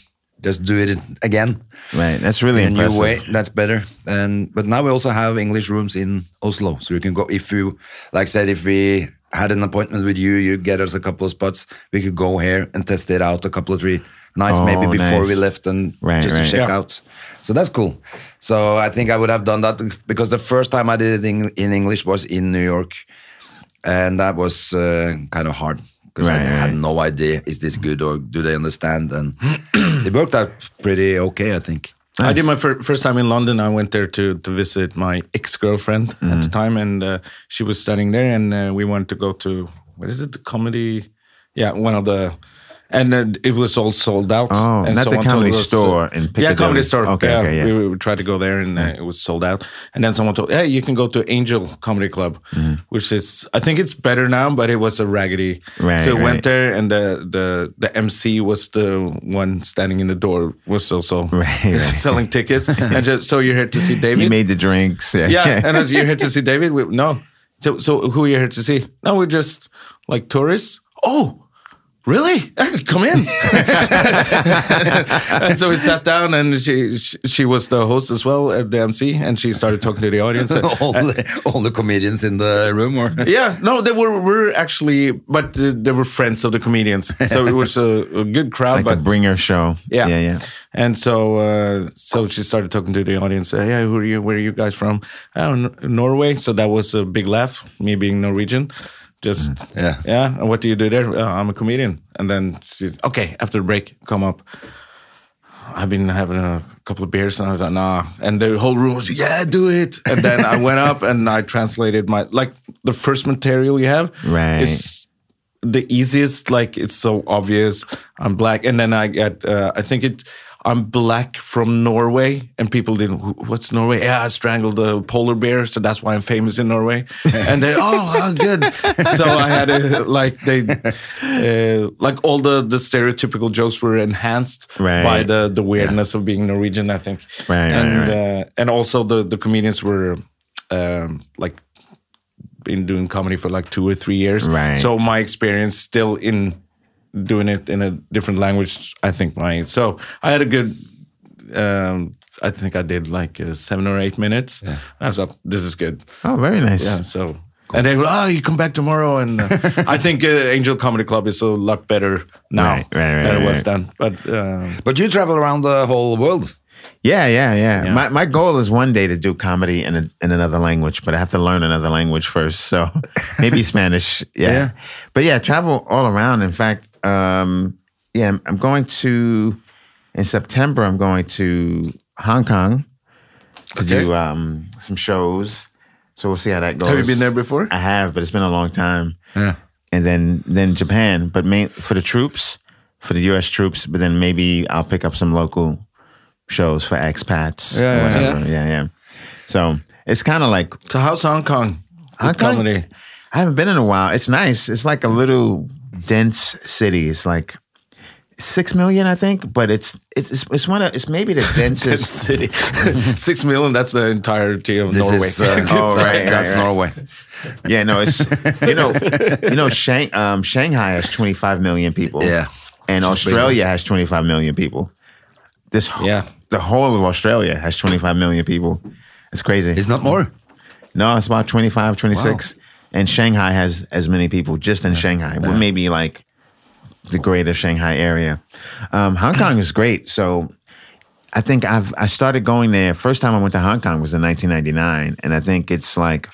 Speaker 2: just do it again
Speaker 3: right that's really
Speaker 2: in a
Speaker 3: impressive
Speaker 2: new way. That's better. And but now we also have English rooms in Oslo, so you can go if you like. I Said if we had an appointment with you, you get us a couple of spots. We could go here and test it out a couple of three nights,
Speaker 3: Oh,
Speaker 2: maybe before we
Speaker 3: nice.
Speaker 2: left, and
Speaker 3: Right,
Speaker 2: just
Speaker 3: right.
Speaker 2: to check
Speaker 1: Yeah.
Speaker 2: out. So that's cool. So I think I would have done that because the first time I did it in, in English was in New York, and that was uh, kind of hard. Because
Speaker 3: Right,
Speaker 2: I had
Speaker 3: right.
Speaker 2: no idea is this good or do they understand and it worked out pretty okay I think
Speaker 1: I did my fir- first time in London. I went there to to visit my ex girlfriend at the
Speaker 3: Mm-hmm.
Speaker 1: time, and uh, she was studying there, and uh, we wanted to go to what is it, the comedy? Yeah, one of the and uh, it was all sold out.
Speaker 3: Oh,
Speaker 1: and
Speaker 3: not the
Speaker 1: someone told
Speaker 3: Comedy
Speaker 1: us-
Speaker 3: Store in
Speaker 1: uh, Yeah, Comedy
Speaker 3: Piccadilly.
Speaker 1: Store.
Speaker 3: Okay,
Speaker 1: yeah,
Speaker 3: okay, yeah.
Speaker 1: We, we tried to go there, and uh, it was sold out. And then someone told, "Hey, you can go to Angel Comedy Club,"
Speaker 3: Mm-hmm.
Speaker 1: which is, I think it's better now, but it was a raggedy.
Speaker 3: Right,
Speaker 1: so I went
Speaker 3: right.
Speaker 1: there, and the the the MC was the one standing in the door was also
Speaker 3: Right, right.
Speaker 1: selling tickets. and just, so you're here to see David.
Speaker 3: He made the drinks.
Speaker 1: Yeah, and as you're here to see David, we, no. So, so who are you here to see? No, we're just like tourists. Oh, really? Come in. and so we sat down, and she, she she was the host as well at the MC, and she started talking to the audience.
Speaker 2: all, the, all the comedians in the room or
Speaker 1: yeah, no, they were we're actually, but uh, they were friends of the comedians, so it was a, a good crowd.
Speaker 3: like
Speaker 1: but
Speaker 3: a bringer show.
Speaker 1: Yeah.
Speaker 3: yeah, yeah.
Speaker 1: And so, uh, so she started talking to the audience. Uh, yeah, who are you? Where are you guys from? Oh, N- Norway. So that was a big laugh. Me being Norwegian, just
Speaker 2: Yeah.
Speaker 1: yeah. And what do you do there? Uh, I'm a comedian. And then she, okay, after the break, come up. I've been having a couple of beers, and I was like, nah. And the whole room was, yeah, do it. And then I went up and I translated my like the first material you have
Speaker 3: Right.
Speaker 1: is the easiest like it's so obvious i'm black and then i get uh, i think it i'm black from norway and people didn't "Wh- what's norway yeah i strangled a polar bear so that's why i'm famous in norway and they oh how good so i had a, like they uh, like all the the stereotypical jokes were enhanced
Speaker 3: Right.
Speaker 1: by the the weirdness of being norwegian i think
Speaker 3: Right, right,
Speaker 1: and
Speaker 3: right.
Speaker 1: Uh, and also the the comedians were um like been doing comedy for like two or three years.
Speaker 3: Right.
Speaker 1: So my experience still in doing it in a different language, I think my so I had a good um I think I did like uh, seven or eight minutes. I was like, this is good.
Speaker 3: Oh, very nice.
Speaker 1: Yeah, so and they were, oh, you come back tomorrow. And uh, I think uh, Angel Comedy Club is a lot better now
Speaker 3: Right, right, right,
Speaker 1: than it
Speaker 3: right,
Speaker 1: was
Speaker 3: right.
Speaker 1: then. But um,
Speaker 2: But you travel around the whole world.
Speaker 3: Yeah, yeah, yeah.
Speaker 1: Yeah.
Speaker 3: My my goal is one day to do comedy in a, in another language, but I have to learn another language first. So maybe Spanish. Yeah.
Speaker 2: Yeah.
Speaker 3: But yeah, travel all around. In fact, um, yeah, I'm, I'm going to in September. I'm going to Hong Kong to do um, some shows. So we'll see how that goes.
Speaker 1: you been there before? Uh-huh.
Speaker 3: I have, but it's been a long time. Yeah. And then then Japan, but main for the troops, for the U.S. troops. But then maybe I'll pick up some local shows for expats. or
Speaker 2: Yeah,
Speaker 1: yeah,
Speaker 3: whatever. yeah, yeah. So it's kind of like
Speaker 1: so how's Hong Kong? with
Speaker 3: Hong Kong-
Speaker 1: comedy.
Speaker 3: I haven't been in a while. It's nice. It's like a little dense city. It's like six million, I think, but it's it's it's one of it's maybe the densest.
Speaker 1: City. Six million, that's the entirety of
Speaker 2: This
Speaker 1: Norway.
Speaker 2: is, uh,
Speaker 3: Oh, right, right,
Speaker 2: that's
Speaker 3: right.
Speaker 2: Norway.
Speaker 3: Yeah, no, it's you know you know Shang, um, Shanghai has twenty five million people.
Speaker 2: Yeah.
Speaker 3: and Australia has twenty five million people. This wh-
Speaker 1: Yeah.
Speaker 3: the whole of Australia has twenty five million people. It's crazy.
Speaker 2: It's not more.
Speaker 3: No, it's about 25, 26. And Shanghai has as many people just in Shanghai, well, maybe like the greater Shanghai area. Um, Hong Kong is great. So I think I've I started going there. First time I went to Hong Kong was in 1999. And I think it's like,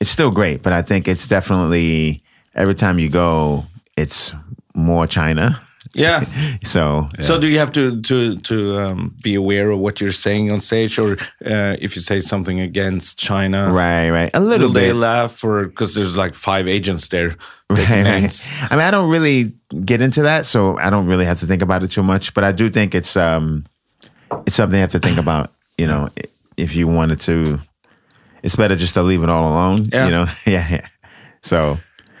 Speaker 3: it's still great, but I think it's definitely every time you go, it's more China.
Speaker 1: yeah.
Speaker 3: So
Speaker 1: So do you have to to to um, be aware of what you're saying on stage, or uh, if you say something against China,
Speaker 3: right, right, a little
Speaker 1: Will they
Speaker 3: bit.
Speaker 1: laugh, or because there's like five agents there taking
Speaker 3: Right, Uh,
Speaker 1: names?
Speaker 3: right. I mean, I don't really get into that, so I don't really have to think about it too much. But I do think it's um, it's something you have to think about. You know, i- if you wanted to, it's better just to leave it all alone.
Speaker 1: Yeah.
Speaker 3: You know, yeah, yeah. So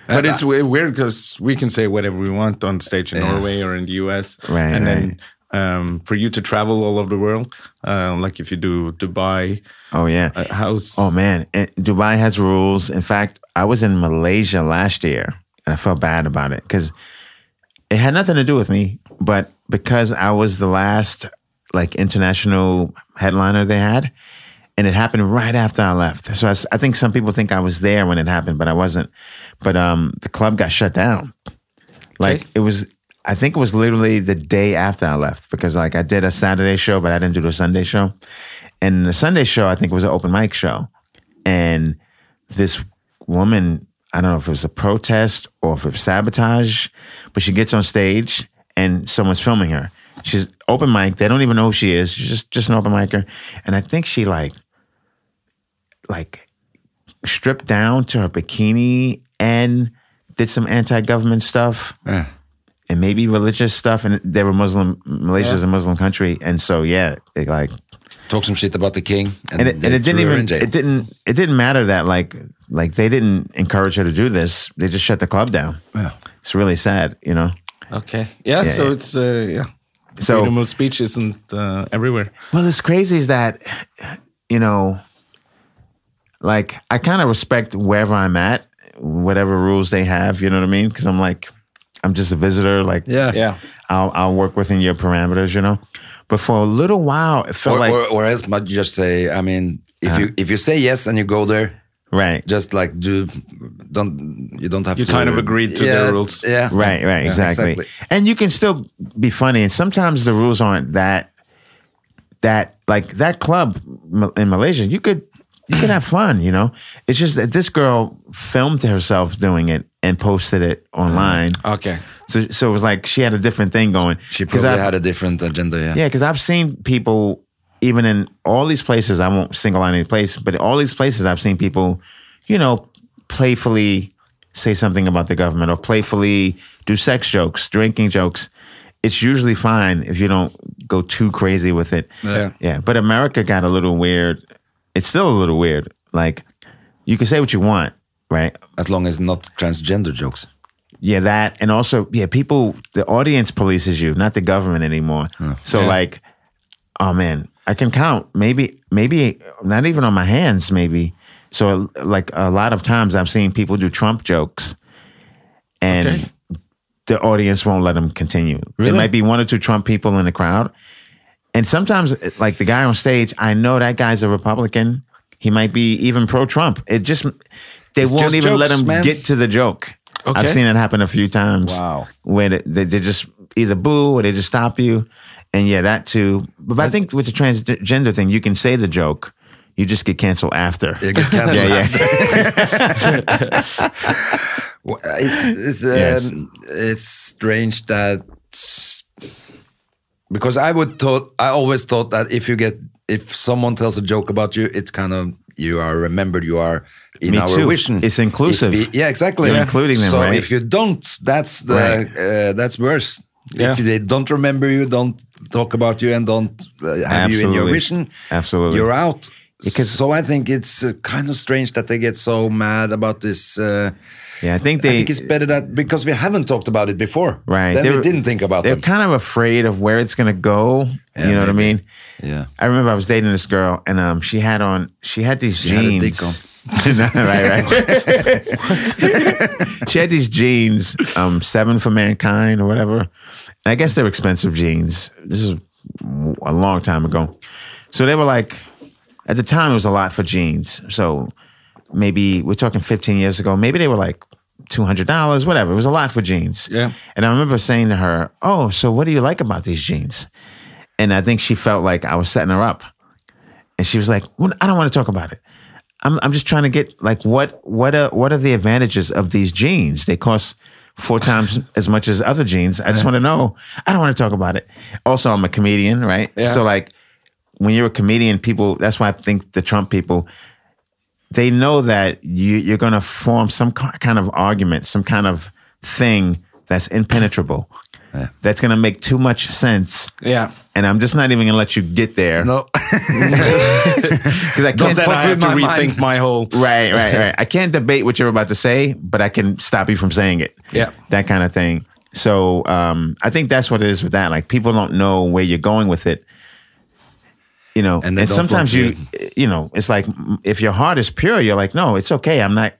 Speaker 3: uh,
Speaker 1: But it's we- weird because we can say whatever we want on stage in Norway or in the US,
Speaker 3: Right,
Speaker 1: and then. Um, for you to travel all over the world, uh, like if you do Dubai,
Speaker 3: Oh yeah.
Speaker 1: uh, how's
Speaker 3: oh man, And Dubai has rules. In fact, I was in Malaysia last year, and I felt bad about it because it had nothing to do with me, but because I was the last like international headliner they had, and it happened right after I left. So I, s- I think some people think I was there when it happened, but I wasn't. But um, the club got shut down. Like
Speaker 1: Okay.
Speaker 3: it was. I think it was literally the day after I left because like I did a Saturday show, but I didn't do the Sunday show. And the Sunday show, I think, was an open mic show. And this woman, I don't know if it was a protest or if it was sabotage, but she gets on stage and someone's filming her. She's open mic. They don't even know who she is. She's just, just an open micer. And I think she like like stripped down to her bikini and did some anti-government stuff. and maybe religious stuff. And they were Muslim. Malaysia's a Muslim country, and so yeah, it like
Speaker 2: Talk some shit about the king.
Speaker 3: and it, and
Speaker 2: they
Speaker 3: it didn't
Speaker 2: threw her
Speaker 3: even
Speaker 2: in jail.
Speaker 3: it didn't it didn't matter that like like they didn't encourage her to do this. They just shut the club down.
Speaker 2: Yeah.
Speaker 3: It's really sad, you know.
Speaker 1: Okay. Yeah, so
Speaker 3: yeah.
Speaker 1: it's uh, yeah.
Speaker 3: So-
Speaker 1: Freedom of speech isn't uh, everywhere.
Speaker 3: Well, it's crazy is that, you know, like I kind of respect wherever I'm at, whatever rules they have. You know what I mean? Because I'm like, I'm just a visitor. Like,
Speaker 2: Yeah.
Speaker 1: Yeah.
Speaker 3: I'll I'll work within your parameters. You know. But for a little while, it felt
Speaker 2: Or,
Speaker 3: like
Speaker 2: or, or else, might you just say, I mean, if you if you say yes and you go there,
Speaker 3: right,
Speaker 2: just like do, don't you don't have
Speaker 1: You
Speaker 2: to.
Speaker 1: kind of agreed to
Speaker 2: yeah,
Speaker 1: the rules.
Speaker 2: Yeah.
Speaker 3: right, right,
Speaker 2: Yeah,
Speaker 3: exactly. And you can still be funny. And sometimes the rules aren't that that like that club ma- in Malaysia. You could you could have fun. You know. It's just that this girl filmed herself doing it and posted it
Speaker 2: Mm.
Speaker 3: online.
Speaker 1: Okay.
Speaker 3: So, so it was like she had a different thing going.
Speaker 2: She
Speaker 3: 'Cause
Speaker 2: probably
Speaker 3: I've-
Speaker 2: had a different agenda. Yeah.
Speaker 3: Yeah, because I've seen people, even in all these places, I won't single out any place, but all these places I've seen people, you know, playfully say something about the government or playfully do sex jokes, drinking jokes. It's usually fine if you don't go too crazy with it.
Speaker 2: Yeah.
Speaker 3: Yeah. But America got a little weird. It's still a little weird. Like, you can say what you want, right?
Speaker 2: As long as not transgender jokes.
Speaker 3: Yeah, that and also yeah, people the audience polices you, not the government anymore. So like, oh man, I can count maybe maybe not even on my hands maybe. So like a lot of times I've seen people do Trump jokes, and
Speaker 1: Okay.
Speaker 3: the audience won't let them continue. There might be one or two Trump people in the crowd, and sometimes like the guy on stage, I know that guy's a Republican. He might be even pro-Trump. It just they won't
Speaker 2: just
Speaker 3: even let
Speaker 2: jokes,
Speaker 3: him
Speaker 2: man.
Speaker 3: get to the joke.
Speaker 1: Okay.
Speaker 3: I've seen it happen a few times.
Speaker 2: Wow.
Speaker 3: Where they, they, they just either boo or they just stop you. And yeah, that too. But I think with the transgender thing, you can say the joke. You just get canceled after.
Speaker 2: You get canceled
Speaker 3: yeah, yeah.
Speaker 2: Well, It's it's, um,
Speaker 3: Yes.
Speaker 2: it's strange that because I would thought I always thought that if you get if someone tells a joke about you, it's kind of you are remembered. You are in
Speaker 3: Me
Speaker 2: our
Speaker 3: too.
Speaker 2: vision.
Speaker 3: It's inclusive.
Speaker 2: If we- yeah, exactly.
Speaker 3: You're including them,
Speaker 2: So
Speaker 3: right?
Speaker 2: if you don't, that's the
Speaker 3: Right.
Speaker 2: uh, that's worse.
Speaker 1: Yeah.
Speaker 2: If they don't remember you, don't talk about you, and don't uh, have you in your
Speaker 3: Absolutely.
Speaker 2: vision,
Speaker 3: Absolutely.
Speaker 2: you're out.
Speaker 3: Because-
Speaker 2: so I think it's uh, kind of strange that they get so mad about this. Uh,
Speaker 3: Yeah, I think
Speaker 2: I
Speaker 3: they.
Speaker 2: think it's better that because we haven't talked about it before.
Speaker 3: right.
Speaker 2: Then
Speaker 3: They
Speaker 2: we
Speaker 3: were-
Speaker 2: didn't think about
Speaker 3: They're
Speaker 2: them.
Speaker 3: kind of afraid of where it's going to go.
Speaker 2: Yeah,
Speaker 3: you know what I mean?
Speaker 2: yeah.
Speaker 3: I remember I was dating this girl, and um, she had on she had these
Speaker 2: had a
Speaker 3: jeans.
Speaker 2: dick on.
Speaker 3: No, right, right. she had these jeans, um, seven for mankind or whatever. And I guess they're expensive jeans. This is a long time ago, so they were like, at the time it was a lot for jeans. So maybe we're talking 15 years ago. Maybe they were like $200, whatever. It was a lot for jeans.
Speaker 1: Yeah.
Speaker 3: And I remember saying to her, "Oh, so what do you like about these jeans?" And I think she felt like I was setting her up. And she was like, well, I don't want to talk about it. I'm, I'm just trying to get like what what are what are the advantages of these jeans? They cost four times as much as other jeans. I just want to know. I don't want to talk about it. Also, I'm a comedian, right?
Speaker 1: Yeah.
Speaker 3: So like when you're a comedian, people that's why I think the Trump people they know that you you're going to form some ki- kind of argument, some kind of thing that's impenetrable. That's going to make too much sense.
Speaker 1: Yeah.
Speaker 3: And I'm just not even going to let you get there.
Speaker 2: No,
Speaker 3: Because I can't
Speaker 1: Because then
Speaker 3: fuck
Speaker 1: I have
Speaker 3: with
Speaker 1: to
Speaker 3: my
Speaker 1: rethink
Speaker 3: mind.
Speaker 1: my whole.
Speaker 3: Right, right, right. I can't debate what you're about to say, but I can stop you from saying it.
Speaker 1: Yeah.
Speaker 3: That kind of thing. So um, I think that's what it is with that. Like people don't know where you're going with it. You know,
Speaker 2: And
Speaker 3: and,
Speaker 2: they don't
Speaker 3: sometimes you,
Speaker 2: want
Speaker 3: you know, it's like mm, if your heart is pure, you're like, no, it's okay. I'm not,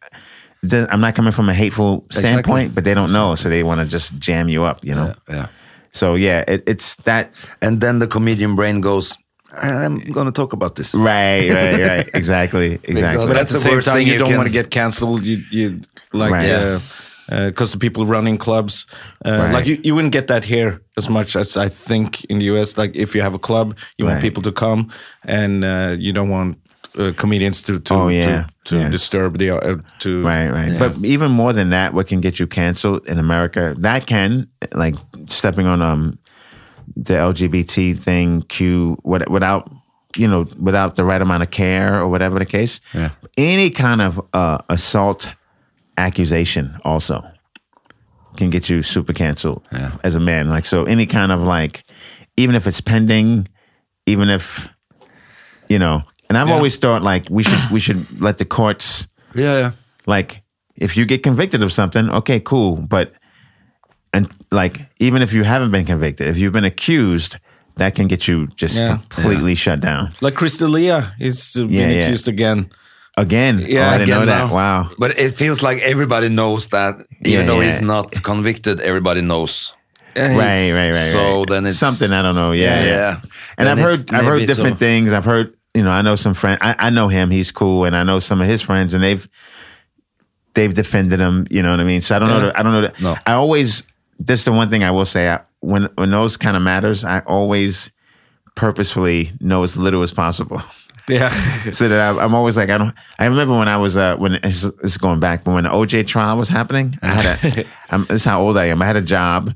Speaker 3: th- I'm not coming from a hateful standpoint, but they don't know, so they want to just jam you up. You know.
Speaker 2: yeah.
Speaker 3: So yeah, it, it's that.
Speaker 2: And then the comedian brain goes, "I'm going to talk about this."
Speaker 3: Right, right, right. exactly, exactly.
Speaker 1: But at
Speaker 2: That's
Speaker 1: the
Speaker 2: the
Speaker 1: same
Speaker 2: worst
Speaker 1: time,
Speaker 2: thing
Speaker 1: you
Speaker 2: you
Speaker 1: don't
Speaker 2: can-
Speaker 1: want to get canceled. You, you like,
Speaker 3: Right.
Speaker 1: uh, uh 'cause the people running clubs, uh,
Speaker 3: Right.
Speaker 1: like you, you wouldn't get that here as much as I think in the US. Like if you have a club, you want
Speaker 3: Right.
Speaker 1: people to come, and uh, you don't want uh, comedians to to
Speaker 3: Oh, yeah.
Speaker 1: to, to
Speaker 3: Yeah.
Speaker 1: disturb the uh, to
Speaker 3: Right, right. But even more than that, what can get you canceled in America? That can like stepping on um the LGBT thing, Q, what, without you know, without the right amount of care or whatever the case. Any kind of uh, assault accusation also can get you super canceled as a man. Like so, any kind of like, even if it's pending, even if you know. And I've always thought like we should we should let the courts
Speaker 2: Ja, ja.
Speaker 3: like if you get convicted of something, okay, cool, but and like even if you haven't been convicted, if you've been accused, that can get you just
Speaker 1: Yeah.
Speaker 3: completely shut down
Speaker 1: Like Crystalia is uh,
Speaker 3: Yeah,
Speaker 1: being
Speaker 3: yeah.
Speaker 1: accused again.
Speaker 3: again.
Speaker 1: Yeah,
Speaker 3: oh, I didn't
Speaker 1: again
Speaker 3: know that.
Speaker 1: now.
Speaker 3: Wow.
Speaker 2: But it feels like everybody knows that, even
Speaker 3: Yeah,
Speaker 2: though
Speaker 3: yeah.
Speaker 2: he's not convicted, everybody knows.
Speaker 3: Right, right, right.
Speaker 2: So
Speaker 3: right.
Speaker 2: then it's-
Speaker 3: something I don't know. Yeah,
Speaker 2: Yeah,
Speaker 3: yeah.
Speaker 2: yeah.
Speaker 3: And
Speaker 2: Then
Speaker 3: I've
Speaker 2: it's
Speaker 3: heard I've heard
Speaker 2: maybe
Speaker 3: different
Speaker 2: so-
Speaker 3: things. I've heard you know I know some friends. I, I know him. He's cool, and I know some of his friends, and they've they've defended him. You know what I mean? So I don't know. The, I don't know. The,
Speaker 2: No.
Speaker 3: I always this is the one thing I will say. I, when when those kind of matters, I always purposefully know as little as possible.
Speaker 1: Yeah.
Speaker 3: so that I, I'm always like I don't. I remember when I was uh, when it's, it's going back, but when the OJ trial was happening, I had a. I'm, this is how old I am. I had a job,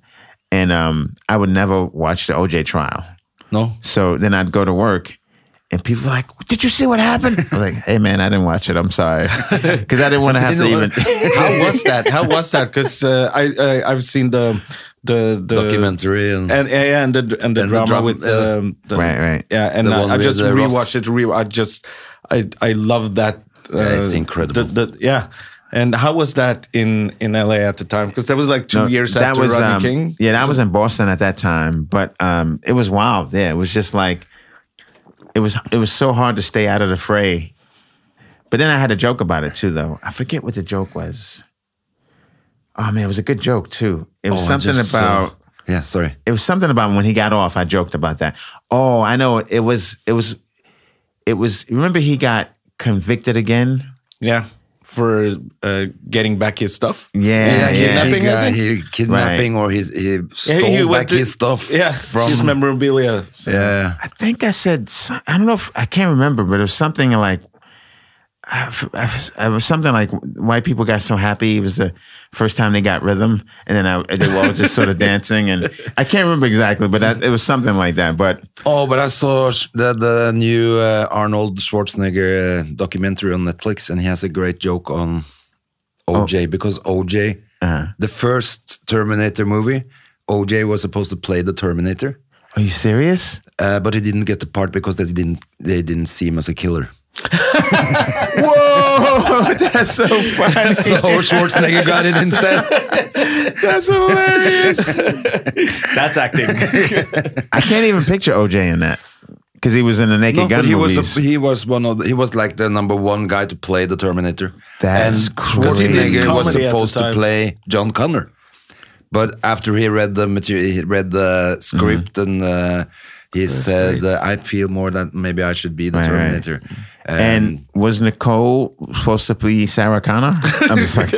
Speaker 3: and um, I would never watch the OJ trial.
Speaker 1: no.
Speaker 3: So then I'd go to work, and people were like, "Did you see what happened?" I was like, "Hey man, I didn't watch it. I'm sorry, because I didn't want to have to even."
Speaker 1: How was that? How was that? Because uh, I, I I've seen the the, the
Speaker 2: Documentary and,
Speaker 1: and yeah, yeah, and the and the
Speaker 2: Mm. And the
Speaker 1: drama
Speaker 2: drama,
Speaker 1: with
Speaker 2: uh,
Speaker 1: um, the,
Speaker 3: Right, right.
Speaker 1: yeah, and
Speaker 2: The
Speaker 1: I,
Speaker 2: one
Speaker 1: I
Speaker 2: with,
Speaker 1: just
Speaker 2: uh, Ross.
Speaker 1: rewatched it. Re- I just I I love that. Uh,
Speaker 2: Yeah, it's incredible.
Speaker 1: The, the, yeah, and how was that in in LA at the time? Because that was like two
Speaker 3: No,
Speaker 1: years after Rodney
Speaker 3: um,
Speaker 1: King.
Speaker 3: Yeah, that was in Boston at that time, but um, it was wild. Yeah, it was just like it was. It was so hard to stay out of the fray. But then I had a joke about it too, though. I forget what the joke was. Oh man, it was a good joke too. It was
Speaker 2: Oh, I
Speaker 3: something
Speaker 2: just saw-
Speaker 3: about
Speaker 2: yeah, sorry.
Speaker 3: it was something about when he got off. I joked about that. Oh, I know. It was. It was. It was. Remember, he got convicted again.
Speaker 1: Yeah, for uh, getting back his stuff.
Speaker 3: Yeah,
Speaker 2: he-
Speaker 3: yeah.
Speaker 1: kidnapping,
Speaker 2: he,
Speaker 1: I
Speaker 2: got-
Speaker 1: think.
Speaker 2: he kidnapping or he, he stole
Speaker 1: he went
Speaker 2: back
Speaker 1: to-
Speaker 2: his stuff.
Speaker 1: Yeah,
Speaker 2: from
Speaker 1: his memorabilia. So.
Speaker 2: Yeah,
Speaker 3: I think I said. so- I don't know. if I can't remember, but it was something like. I f- I f- It was something like white people got so happy. It was the first time they got rhythm, and then I, they were all just sort of dancing. And I can't remember exactly, but that, it was something like that. But
Speaker 2: Oh, but I saw sh- the, the new uh, Arnold Schwarzenegger uh, documentary on Netflix, and he has a great joke on OJ because OJ, the first Terminator movie, OJ was supposed to play the Terminator,
Speaker 3: are you serious?
Speaker 2: uh, but he didn't get the part because they didn't they didn't see him as a killer.
Speaker 3: Whoa, Oh, that's so funny.
Speaker 2: So Schwarzenegger got it instead.
Speaker 3: That's hilarious.
Speaker 1: That's acting.
Speaker 3: I can't even picture OJ in that because he was in the Naked
Speaker 2: No,
Speaker 3: Gun
Speaker 2: but he
Speaker 3: movies.
Speaker 2: was a, he was one of the, he was like the number one guy to play the Terminator.
Speaker 3: That's
Speaker 2: and
Speaker 3: crazy.
Speaker 2: Schwarzenegger was
Speaker 1: Comedy at the
Speaker 2: supposed to
Speaker 1: time.
Speaker 2: play John Connor, but after he read the material, he read the script
Speaker 3: Mm-hmm.
Speaker 2: and uh, he said, uh, "I feel more that maybe I should be the
Speaker 3: Right, right.
Speaker 2: Terminator." Um,
Speaker 3: and was Nicole supposed to be Sarah Connor? I'm just like,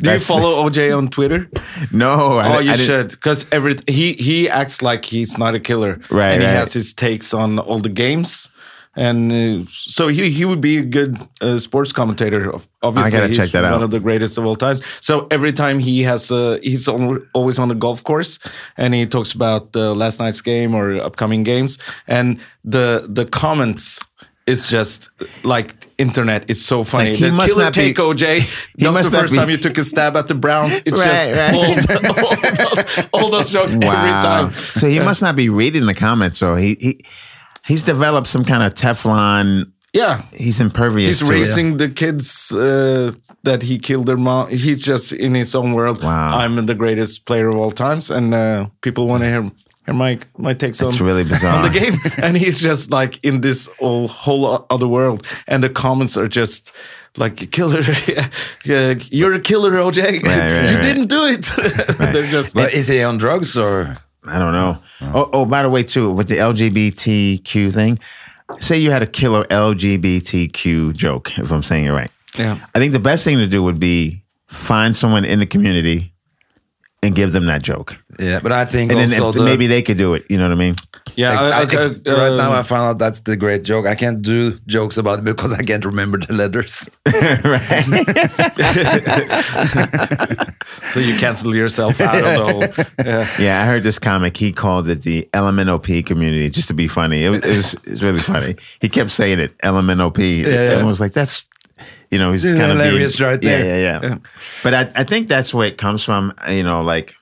Speaker 1: Do you follow OJ on Twitter?
Speaker 3: no. I,
Speaker 1: Oh,
Speaker 3: di-
Speaker 1: you
Speaker 3: I didn't-
Speaker 1: should, because every he he acts like he's not a killer,
Speaker 3: Right,
Speaker 1: And he
Speaker 3: right.
Speaker 1: has his takes on all the games, and uh, so he he would be a good uh, sports commentator. Of- Obviously,
Speaker 3: gotta
Speaker 1: he's
Speaker 3: check that
Speaker 1: one
Speaker 3: out.
Speaker 1: of the greatest of all times. So every time he has uh, he's on, always on the golf course, and he talks about uh, last night's game or upcoming games, and the the comments. is just like internet is so funny.
Speaker 3: Like, he
Speaker 1: the
Speaker 3: must
Speaker 1: killer
Speaker 3: not be-
Speaker 1: take OJ.
Speaker 3: he
Speaker 1: Not
Speaker 3: must
Speaker 1: the
Speaker 3: not
Speaker 1: first
Speaker 3: be-
Speaker 1: time you took a stab at the Browns. It's
Speaker 3: Right,
Speaker 1: just
Speaker 3: right.
Speaker 1: all all those, all those jokes every time.
Speaker 3: So he must not be reading the comments, or he he he's developed some kind of Teflon.
Speaker 1: Yeah.
Speaker 3: He's impervious.
Speaker 1: He's
Speaker 3: to it.
Speaker 1: raising the kids uh, that he killed their mom. He's just in his own world.
Speaker 3: Wow.
Speaker 1: I'm the greatest player of all times, and uh, people want to hear hear my my takes
Speaker 3: It's
Speaker 1: on
Speaker 3: really bizarre.
Speaker 1: the game. and he's just like in this whole, whole o- other world, and the comments are just like killer. yeah, you're a killer, OJ.
Speaker 3: right,
Speaker 1: you
Speaker 3: right.
Speaker 1: didn't do it. They're just
Speaker 2: but is he on drugs or?
Speaker 3: I don't know. Oh, oh, by the way, too, with the LGBTQ thing, say you had a killer LGBTQ joke, if I'm saying it right.
Speaker 1: Yeah.
Speaker 3: I think the best thing to do would be find someone in the community and give them that joke.
Speaker 2: Yeah, but I think
Speaker 3: And then
Speaker 2: also the,
Speaker 3: if, maybe they could do it. You know what I mean?
Speaker 1: yeah. uh,
Speaker 2: Ex-
Speaker 1: I- I-
Speaker 2: I- ex-
Speaker 1: I-
Speaker 2: right now,
Speaker 1: um,
Speaker 2: I found out that's the great joke. I can't do jokes about it because I can't remember the letters.
Speaker 1: So you cancel yourself out of the whole. Yeah.
Speaker 3: Yeah, I heard this comic. He called it the LMNOP community just to be funny. It was, it was, it was really funny. He kept saying it, LMNOP. Everyone was like, that's you know, he's
Speaker 2: It's
Speaker 3: kind of
Speaker 2: hilarious
Speaker 3: being,
Speaker 2: right there.
Speaker 3: Yeah, yeah, yeah. But I, I think that's where it comes from. You know, like,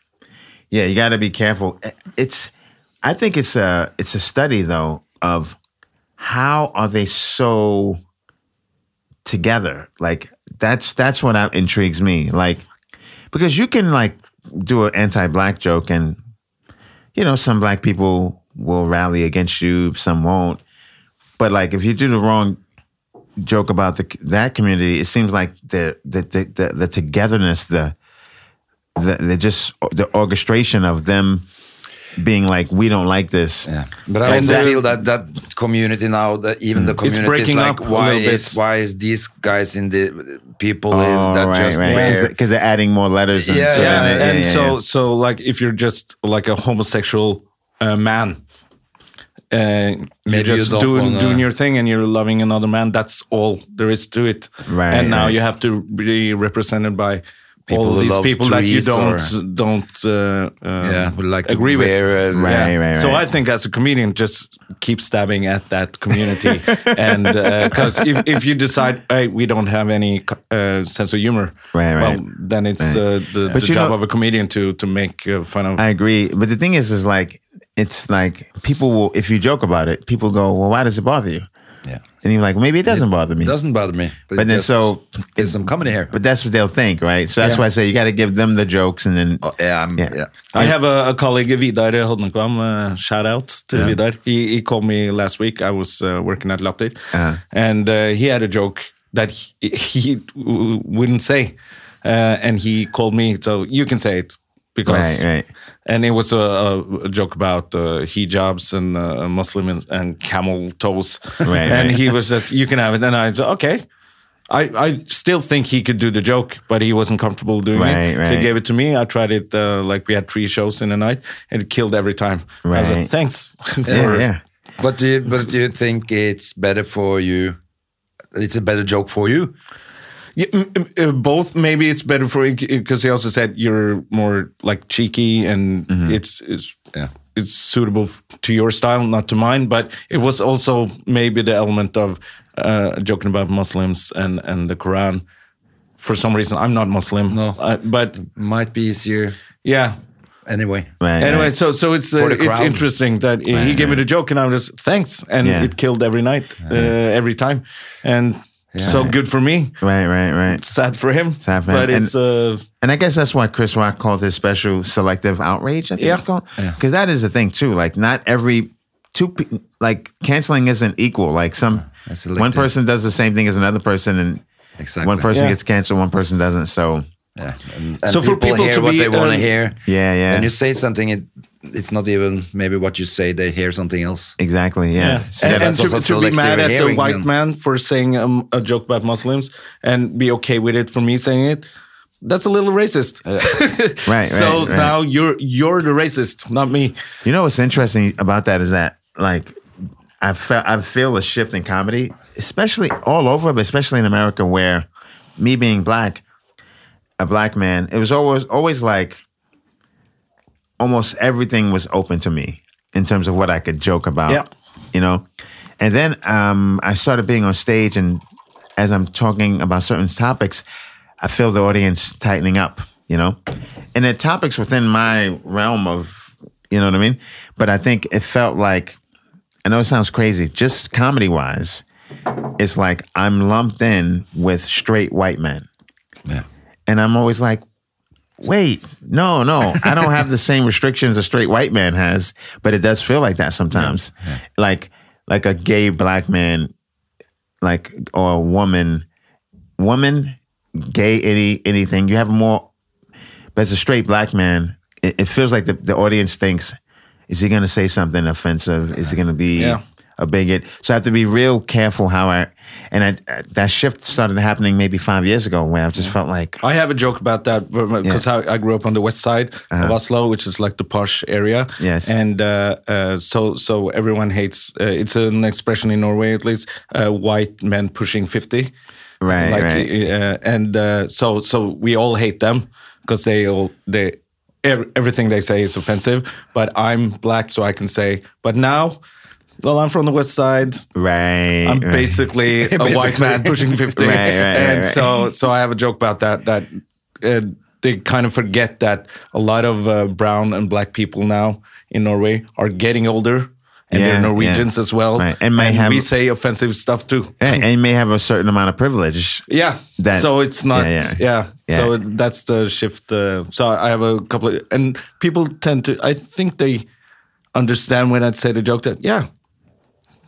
Speaker 3: yeah, you got to be careful. Eh, It's, I think it's a, it's a study though of how are they so together? Like that's that's what I, intrigues me. Like because you can like do an anti-black joke and you know some black people will rally against you, some won't. But like if you do the wrong joke about the that community, it seems like the the the the, the togetherness, the the, the just the orchestration of them being like we don't like this
Speaker 2: Yeah. But I
Speaker 3: And
Speaker 2: also
Speaker 3: that-
Speaker 2: feel that that community now, that even the
Speaker 1: It's
Speaker 2: community is
Speaker 1: breaking up
Speaker 2: like,
Speaker 1: a
Speaker 2: why
Speaker 1: little
Speaker 2: is
Speaker 1: bit. Oh,
Speaker 2: why is these guys in the people in that just
Speaker 3: Because
Speaker 2: wear?
Speaker 3: they're- 'cause they're adding more letters. And
Speaker 2: Yeah,
Speaker 3: so,
Speaker 1: yeah,
Speaker 2: yeah,
Speaker 1: and,
Speaker 2: yeah,
Speaker 1: so so like if you're just like a homosexual uh, man uh, you're
Speaker 2: Maybe you
Speaker 1: just
Speaker 2: don't
Speaker 1: doing
Speaker 2: wanna-
Speaker 1: doing your thing and you're loving another man that's all there is to it
Speaker 3: Right,
Speaker 1: and now
Speaker 3: right.
Speaker 1: you have to be represented by
Speaker 2: People
Speaker 1: all
Speaker 2: who
Speaker 1: these
Speaker 2: love
Speaker 1: people that you
Speaker 2: trees
Speaker 1: don't
Speaker 2: or-
Speaker 1: don't uh, um,
Speaker 2: Yeah, would like to
Speaker 1: agree with
Speaker 2: wear, uh,
Speaker 3: Right,
Speaker 1: Yeah.
Speaker 3: right,
Speaker 1: so
Speaker 3: right.
Speaker 1: I think as a comedian just keep stabbing at that community and because if, if you decide hey we don't have any uh, sense of humor
Speaker 3: Right, right.
Speaker 1: well then it's
Speaker 3: Right.
Speaker 1: uh, the, the
Speaker 3: But you
Speaker 1: job
Speaker 3: know-
Speaker 1: of a comedian to to make uh, fun of
Speaker 3: I agree. But the thing is, is like, it's like people will, if you joke about it, people go, well, why does it bother you?
Speaker 2: Yeah.
Speaker 3: And you're like, maybe it doesn't bother me.
Speaker 2: It doesn't bother me.
Speaker 3: But
Speaker 2: it
Speaker 3: then
Speaker 2: just-
Speaker 3: so-
Speaker 2: there's some comedy here.
Speaker 3: But that's what they'll think, right? So that's
Speaker 1: Yeah.
Speaker 3: why I say you got to give them the jokes and then.
Speaker 2: Oh, yeah, I'm,
Speaker 3: Yeah.
Speaker 2: yeah.
Speaker 1: I have a, a colleague, Vidar Hodnekvam. Uh, shout out to Vidar. He, he called me last week. I was uh, working at Latter,
Speaker 3: Uh-huh.
Speaker 1: and uh, he had a joke that he, he w- wouldn't say, uh, and he called me. So you can say it because.
Speaker 3: Right, right.
Speaker 1: And it was a, a a joke about uh, hijabs and uh, Muslim and, and camel toes.
Speaker 3: Right,
Speaker 1: and
Speaker 3: right.
Speaker 1: he was that you can have it. And I said, okay. I, I still think he could do the joke, but he wasn't comfortable doing it.
Speaker 3: Right,
Speaker 1: So he
Speaker 3: right.
Speaker 1: gave it to me. I tried it uh, like we had three shows in a night and it killed every time. I was like,
Speaker 3: Right.
Speaker 1: Thanks.
Speaker 3: Yeah, yeah.
Speaker 2: But do you, but do you think it's better for you? It's a better joke for you.
Speaker 1: Yeah, m- m- uh, both maybe it's better for because he also said you're more like cheeky and
Speaker 3: Mm-hmm.
Speaker 1: it's it's
Speaker 2: Yeah.
Speaker 1: it's suitable f- to your style, not to mine. But it was also maybe the element of uh, joking about Muslims and and the Quran. For some reason, I'm not Muslim.
Speaker 2: No.
Speaker 1: Uh, but
Speaker 2: Might be easier
Speaker 1: yeah.
Speaker 2: anyway.
Speaker 3: Right,
Speaker 1: Anyway,
Speaker 3: right.
Speaker 1: so so it's uh,
Speaker 2: For the
Speaker 1: it's
Speaker 2: crowd.
Speaker 1: interesting that he gave me the joke and I was thanks and
Speaker 3: Yeah.
Speaker 1: it killed every night, uh, every time, and so good for me
Speaker 3: right, right, right.
Speaker 1: sad for him.
Speaker 3: Sad for him.
Speaker 1: but
Speaker 3: And-
Speaker 1: it's uh,
Speaker 3: And I guess that's why Chris Rock called his special selective outrage. I think
Speaker 1: Yeah.
Speaker 3: it's called because that is the thing too. Like not every two pe- like canceling isn't equal. Like some
Speaker 2: that's
Speaker 3: one
Speaker 2: selective.
Speaker 3: person does the same thing as another person, and
Speaker 2: Exactly.
Speaker 3: one person
Speaker 1: Yeah.
Speaker 3: gets canceled, one person doesn't. So
Speaker 2: Yeah. And, and
Speaker 1: So for
Speaker 2: people,
Speaker 1: people
Speaker 2: hear
Speaker 1: to
Speaker 2: what
Speaker 1: be,
Speaker 2: they want to
Speaker 1: um,
Speaker 2: hear.
Speaker 3: yeah, yeah.
Speaker 2: When you say something, it, it's not even maybe what you say. They hear something else.
Speaker 3: Exactly. Yeah. So-
Speaker 1: And,
Speaker 2: Yeah,
Speaker 1: and
Speaker 2: that's
Speaker 1: to,
Speaker 2: also
Speaker 1: to be mad
Speaker 2: selective
Speaker 1: at a
Speaker 2: hearing
Speaker 1: white
Speaker 2: then.
Speaker 1: man for saying um, a joke about Muslims and be okay with it for me saying it, that's a little racist.
Speaker 2: Uh,
Speaker 3: Right.
Speaker 1: so
Speaker 3: right, right.
Speaker 1: now you're you're the racist, not me.
Speaker 3: you know what's interesting about that is that like I felt I feel a shift in comedy, especially all over, but especially in America, where me being black, a black man, it was always always like almost everything was open to me in terms of what I could joke about.
Speaker 1: Yeah.
Speaker 3: You know? And then um, I started being on stage and as I'm talking about certain topics, I feel the audience tightening up, you know? And the topics within my realm of, you know what I mean? But I think it felt like, I know it sounds crazy, just comedy wise, it's like I'm lumped in with straight white men.
Speaker 2: Yeah.
Speaker 3: And I'm always like, wait, no, no, I don't have the same restrictions a straight white man has, but it does feel like that sometimes. Like like a gay black man, like or a woman, woman, gay, any anything. You have more but as a straight black man, it, it feels like the, the audience thinks, is he gonna say something offensive? Is he gonna be
Speaker 1: Yeah.
Speaker 3: a bigot? So I have to be real careful how I and I, that shift started happening maybe five years ago where I just felt like
Speaker 1: I have a joke about that because I, I grew up on the west side
Speaker 2: Uh-huh.
Speaker 1: of Oslo, which is like the posh area.
Speaker 3: Yes.
Speaker 1: and uh, uh, so so everyone hates. Uh, it's an expression in Norway, at least. Uh, white men pushing fifty.
Speaker 3: Right,
Speaker 1: like,
Speaker 3: right.
Speaker 1: Uh, and uh, so so we all hate them because they all they ev- everything they say is offensive. But I'm black, so I can say. But now Well, I'm from the west side.
Speaker 3: Right.
Speaker 1: I'm
Speaker 3: right.
Speaker 1: basically a white man pushing 50.
Speaker 3: Right, right, right,
Speaker 1: and
Speaker 3: right.
Speaker 1: so so I have a joke about that that uh, they kind of forget that a lot of uh, brown and black people now in Norway are getting older and
Speaker 3: Yeah,
Speaker 1: they're
Speaker 3: yeah.
Speaker 1: Norwegians as well.
Speaker 3: Right, and might have-
Speaker 1: we say offensive stuff too.
Speaker 3: Yeah, and you may have a certain amount of privilege.
Speaker 1: Yeah.
Speaker 3: That-
Speaker 1: so it's not.
Speaker 3: yeah,
Speaker 1: Yeah.
Speaker 3: yeah.
Speaker 1: So
Speaker 3: Yeah.
Speaker 1: that's the shift. Uh, so I have a couple of, and people tend to. I think they understand when I say the joke that yeah,